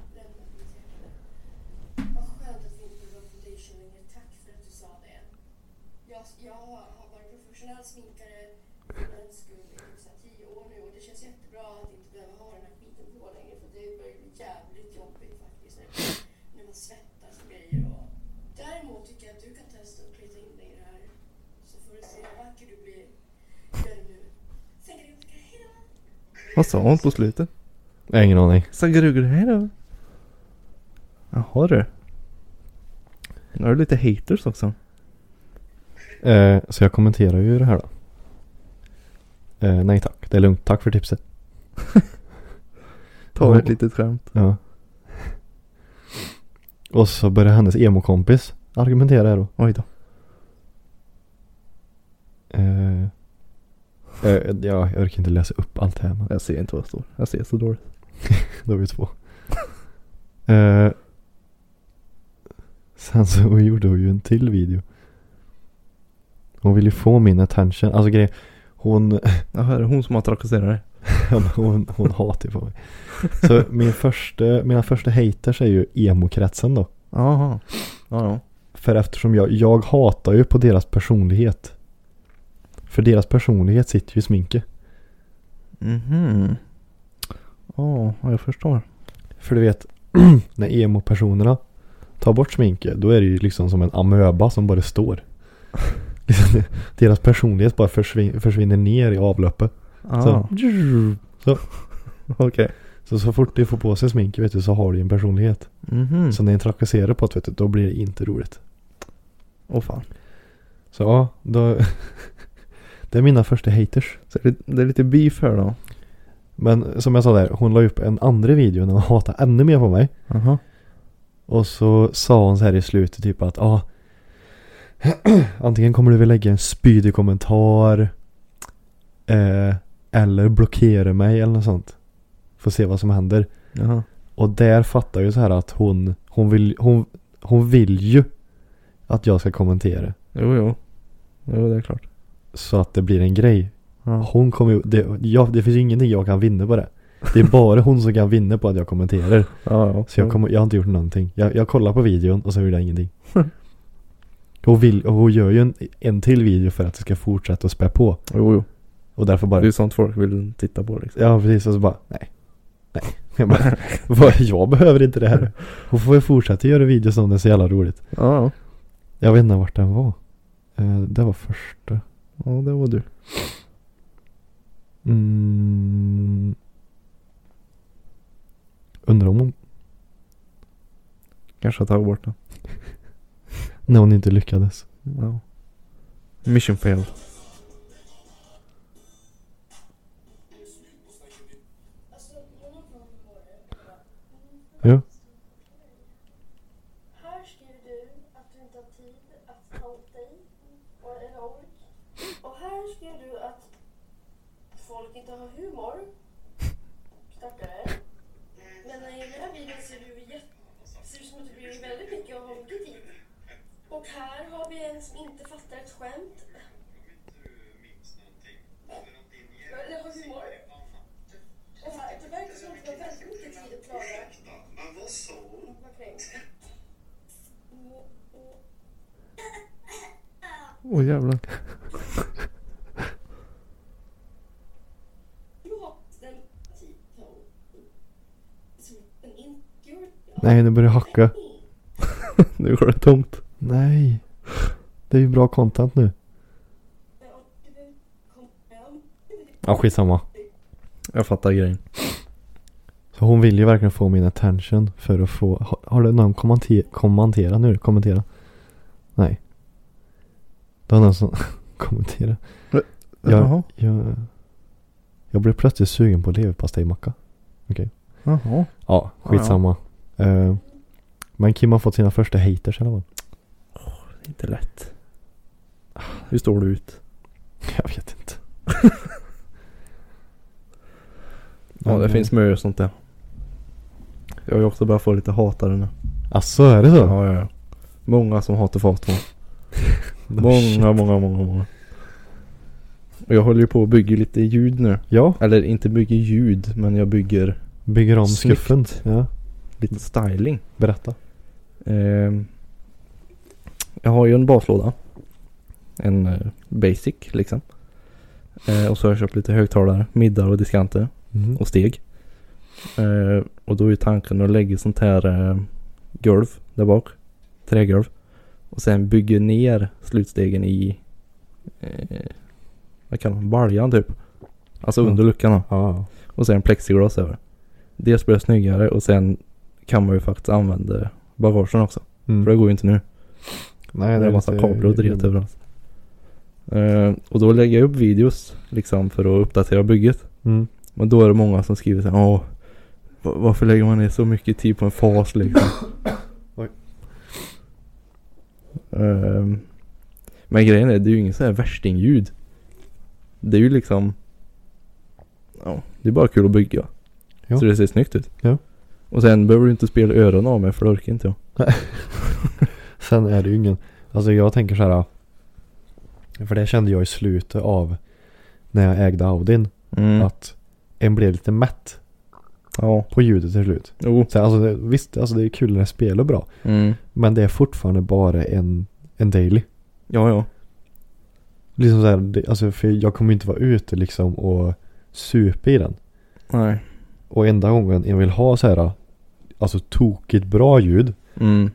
Speaker 4: skönt att vi inte behöver foundation längre. Tack för att du sa det. Jag, jag har varit professionell sminkare för den skull i typ så här tio år nu och det känns jättebra att inte behöva ha den här skiten på längre för det börjar bli jävligt jobbigt faktiskt när, när man svettas och grejer. Och... Däremot tycker jag att du kan testa att kleta in dig i det här så får du se hur vacker du blir. Gör det nu. Sen kan du åka hejdå!
Speaker 1: Vad sa hon på slutet?
Speaker 2: Jag har ingen aning.
Speaker 1: Sagrugur här då? Jaha du. Nu har du lite haters också.
Speaker 2: Eh, så jag kommenterar ju det här då. Eh, nej tack, det är lugnt. Tack för tipset.
Speaker 1: Ta ett litet skämt.
Speaker 2: Ja. Och så börjar hennes emo-kompis argumentera här då.
Speaker 1: Oj då.
Speaker 2: Eh, eh, ja, jag orkar inte läsa upp allt här men
Speaker 1: Jag ser inte vad det står. Jag ser så dåligt.
Speaker 2: då är vi två. Eh, sen så gjorde hon ju en till video. Hon ville ju få min attention. Alltså grejen, hon
Speaker 1: Jaha, är det hon som har trakasserat dig?
Speaker 2: Ja, men (laughs) hon, hon hatar ju på mig. Så min första, mina första haters är ju emo-kretsen då.
Speaker 1: Jaha. Ja, ja.
Speaker 2: För eftersom jag, jag hatar ju på deras personlighet. För deras personlighet sitter ju i sminket.
Speaker 1: Mhm. Ja, jag förstår.
Speaker 2: För du vet, (clears throat) när emo-personerna tar bort sminket, då är det ju liksom som en amöba som bara står. (laughs) Liksom, deras personlighet bara försvin- försvinner ner i avloppet.
Speaker 1: Ah,
Speaker 2: Så,
Speaker 1: (laughs) okej.
Speaker 2: så, så fort de får på sig smink vet du, så har de ju en personlighet.
Speaker 1: Mhm.
Speaker 2: Så när de trakasserar på det vet du, då blir det inte roligt.
Speaker 1: Åh fan.
Speaker 2: Så ja, då, (laughs) det är mina första haters.
Speaker 1: Så det, det är lite beef här då.
Speaker 2: Men som jag sa där, hon la upp en andra video när hon hatade ännu mer på mig.
Speaker 1: Jaha.
Speaker 2: Och så sa hon så här i slutet typ att ja (clears throat) Antingen kommer du väl lägga en spydig kommentar eh, Eller blockera mig eller något sånt Får se vad som händer
Speaker 1: Jaha.
Speaker 2: Och där fattar jag ju så här att hon Hon vill, hon, hon vill ju Att jag ska kommentera
Speaker 1: Jo, jo. Jo, det är klart.
Speaker 2: Så att det blir en grej
Speaker 1: Ja.
Speaker 2: Hon kommer ju, det, jag, det finns ju ingenting jag kan vinna på det Det är bara hon som kan vinna på att jag kommenterar
Speaker 1: Ja, ja.
Speaker 2: Så jag, kommer, jag har inte gjort någonting. Jag, jag kollar på videon och så gjorde jag ingenting. hon, vill, och hon gör ju en, en till video för att det ska fortsätta att spä på.
Speaker 1: Jo, jo.
Speaker 2: Och därför
Speaker 1: Det är
Speaker 2: bara,
Speaker 1: ju sånt folk vill titta på liksom.
Speaker 2: ja precis, och så bara, nej. Nej. (laughs) Jag, bara, vad, jag behöver inte det här. Hon får ju fortsätta göra videos om det är så jävla roligt.
Speaker 1: Ja, ja.
Speaker 2: Jag vet inte vart den var. Eh, Det var första.
Speaker 1: Ja, det var du.
Speaker 2: Mm. Undrar om hon,
Speaker 1: Kanske har tagit bort den.
Speaker 2: när hon inte lyckades.
Speaker 1: Ja. Mission failed.
Speaker 4: Alltså,
Speaker 2: Ja.
Speaker 4: Här skriver du att du inte har tid att ta åt dig och en ork. Och här skriver du att folk inte har humor. Stackare. Men i den här videon ser du jätte- ser ut som att du bryr dig väldigt mycket om mycket tid. Och här har vi en som inte fattar ett skämt. Eller har humor. Och här, det verkar som att du har väldigt mycket tid att klara. Vad kränkt.
Speaker 1: Åh oh, jävlar.
Speaker 4: Låt den titeln alltså, som en idiot.
Speaker 2: Nej, nu börjar jag hacka.
Speaker 1: Nu går det tomt.
Speaker 2: Nej. Det är ju bra content nu. Ja, skitsamma.
Speaker 1: Jag fattar grejen.
Speaker 2: Så hon vill ju verkligen få min attention för att få... Har, har det någon kommenter, kommentera nu? Kommentera? Nej. Det var någon som (laughs) kommenterade. Ja.
Speaker 1: Jaha.
Speaker 2: Jag, jag blev plötsligt sugen på leverpastejmacka.
Speaker 1: Jaha.
Speaker 2: Ja, skitsamma. Eh, men Kim har fått sina första haters i alla fall.
Speaker 1: Inte lätt. Hur står du ut?
Speaker 2: (laughs) Jag vet (laughs) inte.
Speaker 1: Ja, det
Speaker 2: Men,
Speaker 1: finns mycket sånt där. Jag har ju också börjat få lite hatare nu.
Speaker 2: eh, Asså, är det så?
Speaker 1: Ja, ja, ja. Många som hatar Fatman.
Speaker 2: No Oh, shit.
Speaker 1: Många, många, många, många. Och jag håller ju på att bygga lite ljud nu.
Speaker 2: Ja,
Speaker 1: Eller inte bygger ljud, men jag bygger
Speaker 2: bygger om
Speaker 1: Snyggt.
Speaker 2: skuffen. Ja,
Speaker 1: lite styling.
Speaker 2: berätta.
Speaker 1: Ehm, jag har ju en baslåda. En eh, basic liksom. Eh, och så har jag köpt lite högtalare, middar och diskanter
Speaker 2: Mm.
Speaker 1: och steg. Eh, och då är ju tanken att lägga sånt här eh, golv där bak. Trägolv. Och sen bygga ner slutstegen i eh, vad kallar man baljan typ. Alltså
Speaker 2: Mm.
Speaker 1: under luckan då.
Speaker 2: Ja,
Speaker 1: Och sen plexiglas över. Dels blir det snyggare och sen kan man ju faktiskt använda bagagen också.
Speaker 2: mm.
Speaker 1: För det går ju inte nu.
Speaker 2: Nej,
Speaker 1: det är en massa
Speaker 2: lite-
Speaker 1: kablar och dret överallt. Eh, och då lägger jag upp videos liksom för att uppdatera bygget.
Speaker 2: Mm. (laughs)
Speaker 1: Men då är det många som skriver såhär, åh va- varför lägger man ner så mycket tid på en fas liksom?
Speaker 2: (coughs) Oj.
Speaker 1: Ehm, men grejen är, det är ju inget så här värstingljud. Det är ju liksom, ja, det är bara kul att bygga.
Speaker 2: Ja.
Speaker 1: Så det ser snyggt ut.
Speaker 2: Ja.
Speaker 1: Och sen behöver du inte spela öronen av mig för det orkar inte jag.
Speaker 2: Sen är det ju ingen, alltså jag tänker så här. För det kände jag i slutet av när jag ägde Audin.
Speaker 1: Mm.
Speaker 2: Att en blev lite mätt
Speaker 1: Ja.
Speaker 2: på ljudet till slut.
Speaker 1: Jo.
Speaker 2: Så alltså, det- visst, alltså det är kul när det spelar bra.
Speaker 1: Mm.
Speaker 2: Men det är fortfarande bara en, en daily.
Speaker 1: Ja, ja.
Speaker 2: Liksom så här, det, alltså för jag kommer inte vara ute liksom och supa i den.
Speaker 1: Nej.
Speaker 2: Och enda gången jag vill ha så här, alltså tokigt bra ljud.
Speaker 1: Mm.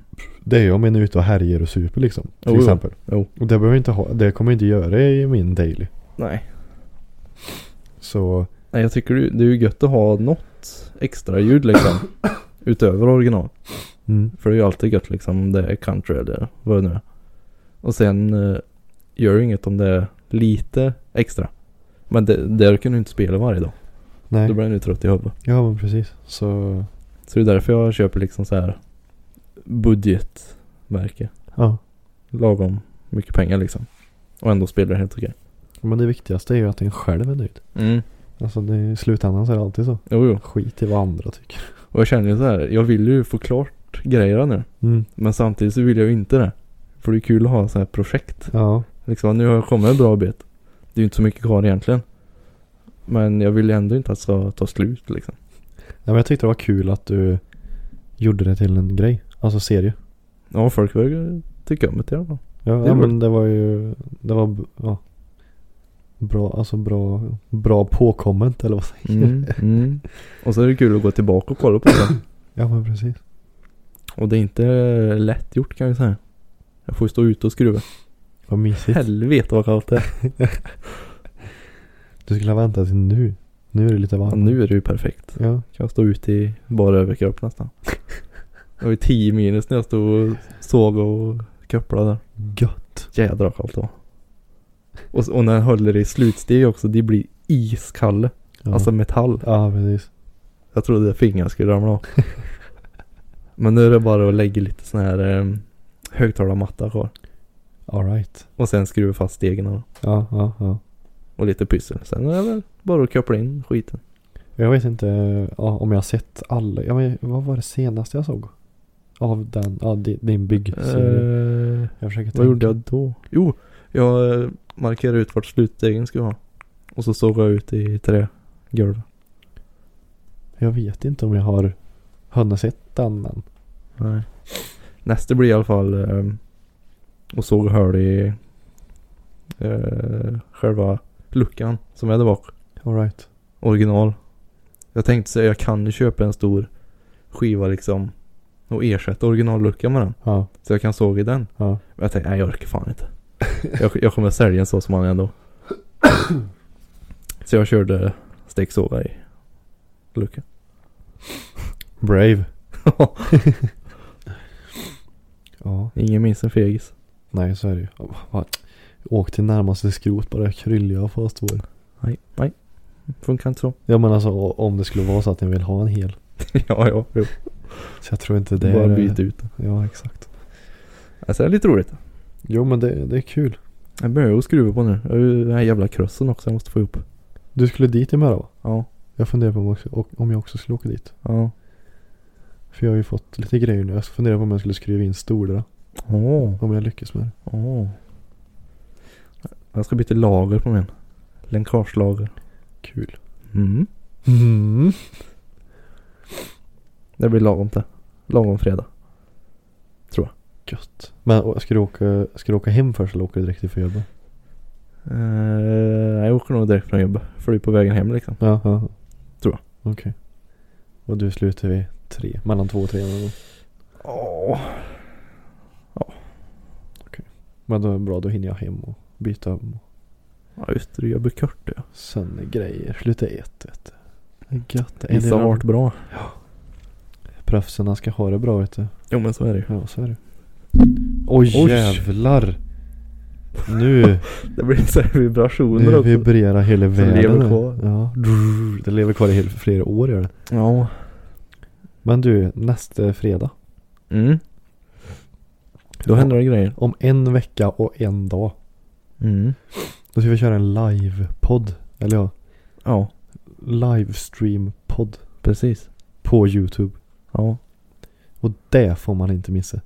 Speaker 2: Det är ju om en är ute och härjer och super liksom. Till
Speaker 1: Jo, jo.
Speaker 2: exempel.
Speaker 1: Jo.
Speaker 2: Och det behöver jag inte ha, det kommer jag inte göra i min daily.
Speaker 1: Nej.
Speaker 2: Så
Speaker 1: Nej jag tycker det det är ju gött att ha något extra ljud
Speaker 2: (coughs)
Speaker 1: liksom. utöver original.
Speaker 2: mm,
Speaker 1: För det är ju alltid gött liksom om det är country eller vad det nu är. Och sen eh, gör det inget om det är lite extra. Men det, där kan du inte spela varje dag.
Speaker 2: nej.
Speaker 1: Då blir du ju trött i huvudet.
Speaker 2: Ja men precis. Så
Speaker 1: Så det är därför jag köper liksom så här budgetmärke.
Speaker 2: ja.
Speaker 1: Lagom mycket pengar liksom. Och ändå spelar det helt okej.
Speaker 2: Men det viktigaste är ju att en själv är nöjd.
Speaker 1: Mm.
Speaker 2: Alltså det, i slutändan så är det alltid så.
Speaker 1: Jo, jo.
Speaker 2: Skit i vad andra tycker.
Speaker 1: Och jag känner ju så här. Jag vill ju få klart grejerna nu.
Speaker 2: Mm.
Speaker 1: Men samtidigt så vill jag ju inte det. För det är kul att ha så här projekt.
Speaker 2: Ja.
Speaker 1: Liksom, nu har jag kommit en bra bit. Det är ju inte så mycket kvar egentligen. Men jag vill ju ändå inte att det ska ta slut liksom.
Speaker 2: Nej, men jag tyckte det var kul att du gjorde det till en grej. Alltså serie.
Speaker 1: Ja, folk verkar tycka om det i alla fall.
Speaker 2: Ja,
Speaker 1: Det
Speaker 2: ja
Speaker 1: var-
Speaker 2: men det var ju, det var b- ja, bra, alltså bra, bra påkomment eller vad säger
Speaker 1: Mm, mm. Och så är det kul att gå tillbaka och kolla på det.
Speaker 2: Ja men precis.
Speaker 1: Och det är inte lätt gjort kan jag säga. Jag får ju stå ute och skruva.
Speaker 2: Vad mysigt.
Speaker 1: Helvete vad kallt det är.
Speaker 2: Du skulle ha väntat till nu. Nu är det lite varmt.
Speaker 1: Ja, nu är det ju perfekt.
Speaker 2: Ja.
Speaker 1: Kan jag stå ute i bara överkropp nästan. Det var ju 10 minus när jag stod och såg och kopplade där.
Speaker 2: Gött.
Speaker 1: Jädrar vad kallt det var. Och, s- och när jag håller det i slutsteg också, det blir iskalle.
Speaker 2: Ja.
Speaker 1: Alltså metall.
Speaker 2: Ja precis.
Speaker 1: Jag trodde att fingrar skulle ramla av. (laughs) Men nu är det bara att lägga lite sån här eh, högtalarmatta kvar.
Speaker 2: Alright.
Speaker 1: Och sen skruva fast stegen och-
Speaker 2: Ja, ja, ja.
Speaker 1: och lite pyssel. Sen är det väl bara att koppla in skiten.
Speaker 2: Jag vet inte ja, om jag har sett alla. Ja, men, vad var det senaste jag såg? Av den, ja, di- din byggserie.
Speaker 1: Eh,
Speaker 2: jag försöker tänka.
Speaker 1: Vad gjorde jag då? Jo, jag eh, markerade ut vart slutstegen skulle vara. Och så såg jag ut i trägolvet.
Speaker 2: Jag vet inte om jag har hunnit sett den än.
Speaker 1: Nej. Nästa blir i alla fall ehm, och såg hål i eh, själva luckan som är där bak.
Speaker 2: Alright.
Speaker 1: Original. Jag tänkte säga jag kan ju köpa en stor skiva liksom och ersätta originalluckan med den.
Speaker 2: Ja,
Speaker 1: Så jag kan såga i den.
Speaker 2: ja.
Speaker 1: Men jag tänkte nej jag orkar fan inte. jag, jag kommer sälja en så som han är ändå. så jag körde stegsåga i luckan. (laughs)
Speaker 2: Brave. Ja.
Speaker 1: Ingen minns en fegis.
Speaker 2: Nej så är det ju. Ja, va- Åk till närmaste skrot bara krylliga fast vår.
Speaker 1: Nej, nej. Funkar inte så.
Speaker 2: Ja men alltså o- om det skulle vara så att ni vill ha en hel.
Speaker 1: (laughs) ja, ja, jo.
Speaker 2: Så jag tror inte det
Speaker 1: Bara
Speaker 2: är...
Speaker 1: byta ut den.
Speaker 2: Ja exakt.
Speaker 1: Alltså det är lite roligt.
Speaker 2: Jo men det, det är kul.
Speaker 1: Jag börjar ju skruva på nu. Jag har ju den här jävla krossen också jag måste få ihop.
Speaker 2: Du skulle dit imorgon va?
Speaker 1: Ja,
Speaker 2: Jag funderar på om, jag också, och- om jag också skulle åka dit.
Speaker 1: ja.
Speaker 2: För jag har ju fått lite grejer nu. Jag funderar på om jag skulle skriva in stolar.
Speaker 1: Åh,
Speaker 2: Om jag lyckas med det.
Speaker 1: åh. Jag ska byta lager på min. Länkagelager.
Speaker 2: Kul.
Speaker 1: Mm.
Speaker 2: Mm.
Speaker 1: Det blir lagom det. Lagom fredag.
Speaker 2: Gött. Men och, ska, du åka, ska du åka hem först eller åker du direkt till jobbet?
Speaker 1: Eh, jag åker nog direkt från jobbet. För det är på vägen hem liksom.
Speaker 2: Ja, ja.
Speaker 1: Tror
Speaker 2: jag. Okej. Och du slutar vid tre? Mellan två och tre någon gång?
Speaker 1: Åh.
Speaker 2: Men då är det bra, då hinner jag hem och byta om
Speaker 1: Ja just det, du gör bukört ja.
Speaker 2: och sönder grejer. Sluta ett vet du. Det är gött. Det är
Speaker 1: Vissa
Speaker 2: det
Speaker 1: har varit bra.
Speaker 2: Proffsen ska ha det bra vet du.
Speaker 1: Jo men så är det ju.
Speaker 2: Ja så är det. Oj,
Speaker 1: Oj.
Speaker 2: jävlar.
Speaker 1: (laughs)
Speaker 2: Nu,
Speaker 1: Det blir så här vibrationer
Speaker 2: nu
Speaker 1: också.
Speaker 2: vibrerar hela
Speaker 1: lever
Speaker 2: världen. här.
Speaker 1: kvar.
Speaker 2: Ja. Drrr, Det lever kvar i hel- flera år gör det.
Speaker 1: ja.
Speaker 2: Men du, nästa fredag.
Speaker 1: Mm. Då händer det grejer.
Speaker 2: Om en vecka och en dag.
Speaker 1: Mm.
Speaker 2: Då ska vi köra en live-podd. Eller ja,
Speaker 1: Ja,
Speaker 2: livestream-podd.
Speaker 1: precis.
Speaker 2: På YouTube.
Speaker 1: Ja.
Speaker 2: Och det får man inte missa.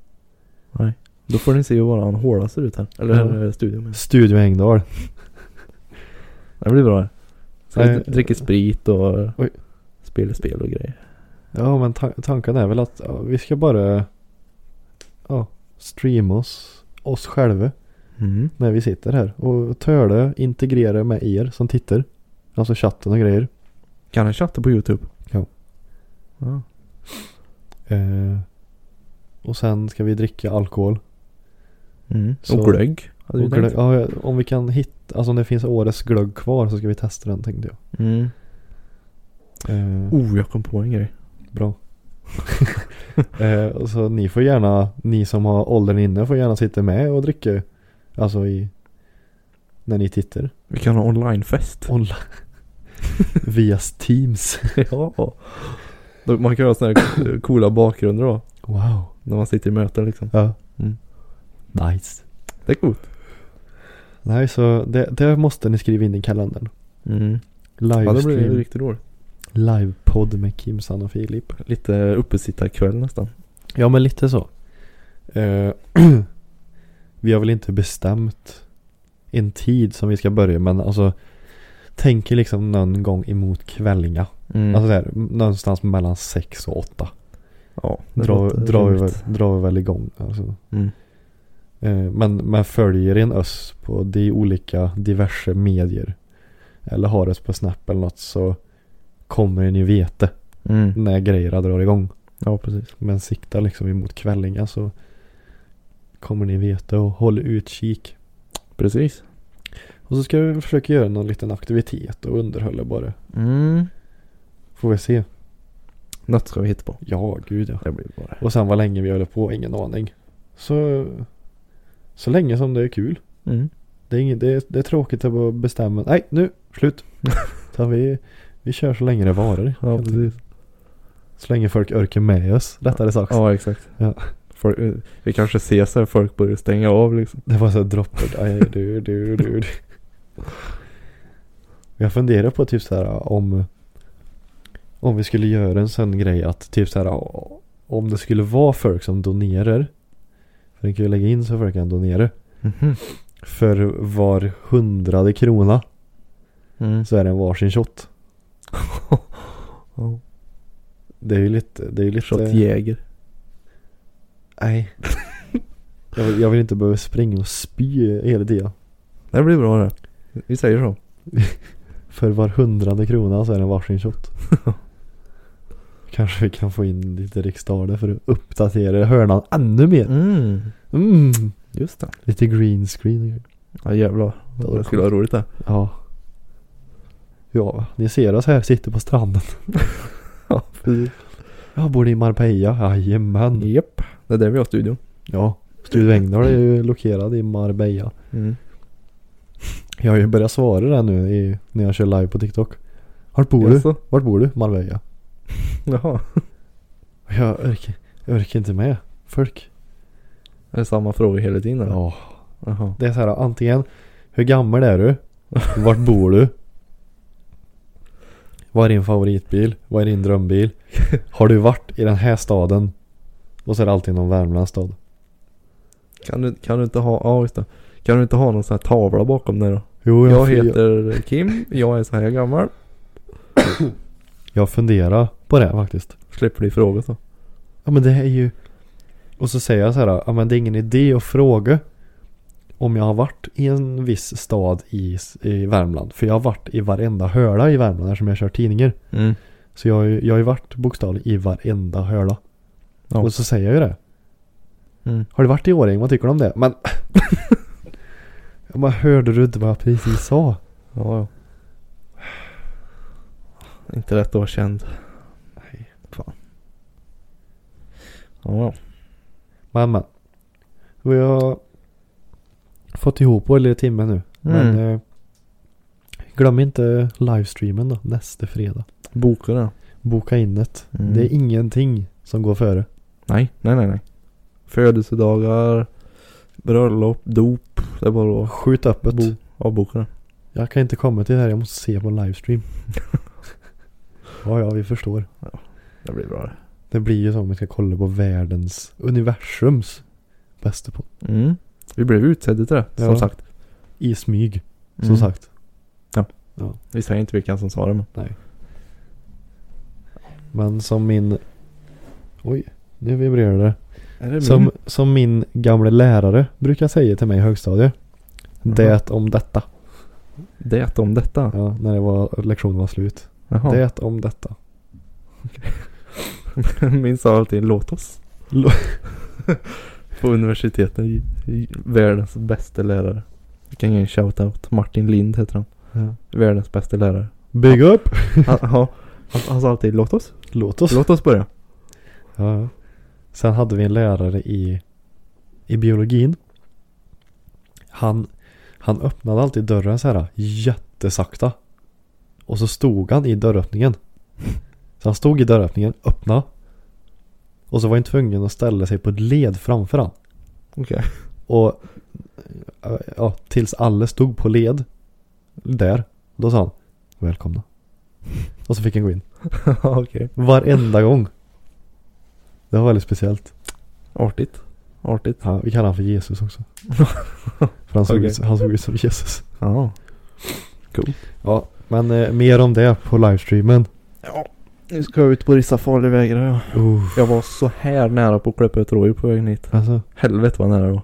Speaker 1: Då får ni se hur våran håla ser ut här. Eller ja. studion menar jag.
Speaker 2: Studio Engdahl.
Speaker 1: Det blir bra. Så vi
Speaker 2: Nej.
Speaker 1: dricker sprit och
Speaker 2: Oj.
Speaker 1: spelar spel och grejer.
Speaker 2: Ja men ta- tanken är väl att ja, vi ska bara ja, streama oss, oss själva.
Speaker 1: Mm.
Speaker 2: när vi sitter här och töle integrera med er som tittar. Alltså chatten och grejer.
Speaker 1: Kan han chatta på YouTube?
Speaker 2: Ja.
Speaker 1: Ja.
Speaker 2: Eh, och sen ska vi dricka alkohol.
Speaker 1: Mm.
Speaker 2: Så-
Speaker 1: Och glögg. Hade
Speaker 2: Och
Speaker 1: vi tänkt.
Speaker 2: glögg, ja, om vi kan hitta, alltså om det finns årets glögg kvar så ska vi testa den tänkte jag.
Speaker 1: Mm.
Speaker 2: Eh,
Speaker 1: Oh, jag kom på en grej.
Speaker 2: Bra. (laughs) eh, och så ni får gärna, ni som har åldern inne får gärna sitta med och dricka. Alltså i, när ni tittar.
Speaker 1: Vi kan ha onlinefest.
Speaker 2: Online. (laughs) Via Teams.
Speaker 1: (laughs) ja. Då- Man kan ha sådana här coola bakgrunder då.
Speaker 2: Wow.
Speaker 1: När man sitter i möten liksom.
Speaker 2: Ja.
Speaker 1: Mm.
Speaker 2: Nice.
Speaker 1: Det är coolt.
Speaker 2: Nej, så det, det måste ni skriva in i kalendern.
Speaker 1: Mm. Ja, det blir
Speaker 2: Livestream,
Speaker 1: riktigt roligt.
Speaker 2: livepodd med Kimsan och Filip.
Speaker 1: Lite uppesittarkväll nästan.
Speaker 2: Ja, men lite så. Eh, (clears throat) vi har väl inte bestämt en tid som vi ska börja, men alltså tänker liksom någon gång emot kvällinga.
Speaker 1: Mm.
Speaker 2: Alltså där, någonstans mellan sex och åtta.
Speaker 1: ja, det
Speaker 2: Dra,
Speaker 1: låter
Speaker 2: drar, vi,
Speaker 1: rimligt.
Speaker 2: väl- drar vi väl igång. Alltså.
Speaker 1: Mm.
Speaker 2: Eh, Men, men följer in oss på de olika diverse medier eller har oss på Snap eller något så kommer ni veta
Speaker 1: Mm.
Speaker 2: när grejerna drar igång.
Speaker 1: Ja, precis.
Speaker 2: Men sikta liksom emot kvällingar så kommer ni veta och håll utkik.
Speaker 1: Precis.
Speaker 2: Och så ska vi försöka göra någon liten aktivitet och underhålla bara.
Speaker 1: Mm.
Speaker 2: Får vi se.
Speaker 1: Något ska vi hitta på.
Speaker 2: Ja, gud ja.
Speaker 1: Det blir bara.
Speaker 2: Och sen vad länge vi håller på, ingen aning. Så, så länge som det är kul.
Speaker 1: Mm.
Speaker 2: Det är, inget, det, är, det är tråkigt att bara bestämma. Nej, nu, slut. Så vi, vi kör så länge det varar.
Speaker 1: Ja, precis.
Speaker 2: Så länge folk orkar med oss, rättare sagt.
Speaker 1: Ja, exakt.
Speaker 2: Ja.
Speaker 1: Folk, eh, vi kanske ses när folk börjar stänga av liksom.
Speaker 2: Det var så här droppet. Aj, du, du, du, du. Jag funderar på typ så här om om vi skulle göra en sån grej att typ så här om det skulle vara folk som donerar. För den kan ju lägga in så folk kan donera.
Speaker 1: Mhm.
Speaker 2: För var hundrade krona
Speaker 1: Mm.
Speaker 2: så är det en varsin shot.
Speaker 1: (laughs) Ja.
Speaker 2: Det är ju lite, det är ju lite.
Speaker 1: Shot Jäger.
Speaker 2: Nej. jag, vill, jag vill inte behöva springa och spy hela tiden.
Speaker 1: Det blir bra det. Vi säger så.
Speaker 2: För var hundrade krona så är det en
Speaker 1: (laughs)
Speaker 2: varsin shot. Kanske vi kan få in lite riksdaler för att uppdatera hörnan ännu mer.
Speaker 1: Mm.
Speaker 2: Mm.
Speaker 1: Just det.
Speaker 2: Lite green screen. och grejer.
Speaker 1: Ja jävlar.
Speaker 2: Det
Speaker 1: Det
Speaker 2: var
Speaker 1: skulle vara roligt det.
Speaker 2: Ja. Ja, ni ser oss här, sitter på stranden.
Speaker 1: Ja, precis.
Speaker 2: Ja, bor ni i Marbella? Jajamän.
Speaker 1: Japp. Det är där vi har studion.
Speaker 2: Ja, Studio Engdahl är ju lokerad i Marbella.
Speaker 1: Mm.
Speaker 2: Jag har ju börjat svara där nu i, när jag kör live på TikTok. Vart bor du?
Speaker 1: Jaså?
Speaker 2: Vart bor du? Marbella.
Speaker 1: Jaha.
Speaker 2: Och Jag orkar, jag orkar inte med folk.
Speaker 1: Är det samma fråga hela tiden eller?
Speaker 2: Ja.
Speaker 1: Jaha.
Speaker 2: Det är så här antingen Hur gammal är du? Vart bor du? Vad är din favoritbil? Vad är din drömbil? Har du varit i den här staden? Och så är det alltid någon Värmlandsstad.
Speaker 1: Kan du, kan du inte ha, ja just det. Kan du inte ha någon sån här tavla bakom dig då?
Speaker 2: Jo,
Speaker 1: Jag heter Kim, jag är så här gammal.
Speaker 2: jag funderar på det faktiskt.
Speaker 1: Släpper du frågor så.
Speaker 2: Ja men det är ju... Och så säger jag så här, ja men det är ingen idé att fråga om jag har varit i en viss stad i, i Värmland. För jag har varit i varenda hörla i Värmland eftersom jag kör tidningar.
Speaker 1: Mm.
Speaker 2: Så jag, har ju- jag har ju varit bokstavligt i varenda hörla.
Speaker 1: Ja.
Speaker 2: Och så säger jag ju det.
Speaker 1: Mm.
Speaker 2: Har du varit i Årjäng? Vad tycker du om det? Men... (laughs) Ja, men hörde du inte vad jag precis sa?
Speaker 1: Ja, ja. Inte lätt att vara känd. Nej. Fan. Ja, ja.
Speaker 2: Men men. Vi har fått ihop vår lilla timme nu. Men
Speaker 1: Mm.
Speaker 2: eh, glöm inte livestreamen då nästa fredag.
Speaker 1: Boka det.
Speaker 2: Boka in det.
Speaker 1: Mm.
Speaker 2: Det är ingenting som går före.
Speaker 1: Nej, nej, nej, nej. Födelsedagar, bröllop, dop. Det är bara att
Speaker 2: Skjut upp det.
Speaker 1: bo, avboka det.
Speaker 2: Jag kan inte komma till det här. Jag måste se
Speaker 1: (laughs)
Speaker 2: på livestream. ja, ja, vi förstår.
Speaker 1: Det blir bra det.
Speaker 2: Det blir ju som om vi ska kolla på världens, universums bästa podd.
Speaker 1: Mm. Vi blev utsedda till det, som
Speaker 2: Ja.
Speaker 1: sagt.
Speaker 2: I smyg, som
Speaker 1: Mm.
Speaker 2: sagt.
Speaker 1: Vi säger inte vilka som sa det men.
Speaker 2: Men som min... Oj, nu vibrerar det.
Speaker 1: Är det
Speaker 2: Som, som min gamla lärare brukar säga till mig i högstadiet.
Speaker 1: Mm.
Speaker 2: Det om detta.
Speaker 1: Det om detta.
Speaker 2: Ja, när det var, lektionen var slut.
Speaker 1: Jaha.
Speaker 2: Det om detta.
Speaker 1: (laughs) Min sa alltid låt oss. (laughs) På universiteten. i- i Världens bästa lärare. Jag kan ge en shoutout. Martin Lind heter han.
Speaker 2: Ja.
Speaker 1: Världens bästa (laughs) lärare.
Speaker 2: Big up!
Speaker 1: Han, ja, han, han sa alltid låt oss.
Speaker 2: Låt oss.
Speaker 1: Låt oss börja.
Speaker 2: Ja. ja. Sen hade vi en lärare i, i biologin. Han, han öppnade alltid dörren så här jättesakta. Och så stod han i dörröppningen. Så han stod i dörröppningen, öppna. Och så var han tvungen att ställa sig på ett led framför han.
Speaker 1: Okej. (laughs)
Speaker 2: Och eh, ja, tills alla stod på led där. Då sa han välkomna. Och så fick han gå in.
Speaker 1: Okej.
Speaker 2: Varenda gång. Det var väldigt speciellt.
Speaker 1: Artigt. Artigt.
Speaker 2: Ja, vi kallar han för Jesus (laughs) också. för han såg,
Speaker 1: Okej.
Speaker 2: ut, han såg ut som Jesus.
Speaker 1: Ja.
Speaker 2: Ja, men eh, mer om det på livestreamen.
Speaker 1: Nu ska jag ut på dessa farliga vägar jag.
Speaker 2: Uh,
Speaker 1: Jag var så här nära på att klippa ett rådjur på vägen hit.
Speaker 2: alltså,
Speaker 1: Helvete vad nära jag var.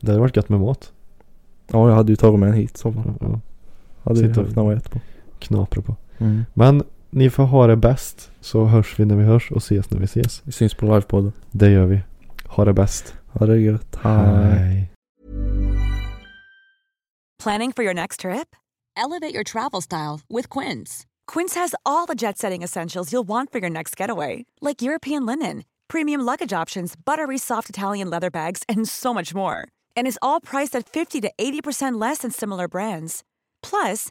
Speaker 2: det hade varit gött med mat.
Speaker 1: Ja, jag hade ju tagit med en hit som
Speaker 2: Ja,
Speaker 1: hade ju
Speaker 2: Sitta-
Speaker 1: haft något att äta på.
Speaker 2: knapra på.
Speaker 1: Mm.
Speaker 2: Men ni får ha det bäst. Så hörs vi när vi hörs och ses när vi ses.
Speaker 1: Vi syns på livepodden.
Speaker 2: Det gör vi. Ha det bäst.
Speaker 1: Ha det gött. Hej.
Speaker 5: Planning for your next trip? Elevate your travel style with Quince. Quince has all the jet setting essentials you'll want for your next getaway, like European linen, premium luggage options, buttery soft Italian leather bags, and so much more. And is all priced at 50 to 80% less than similar brands. Plus,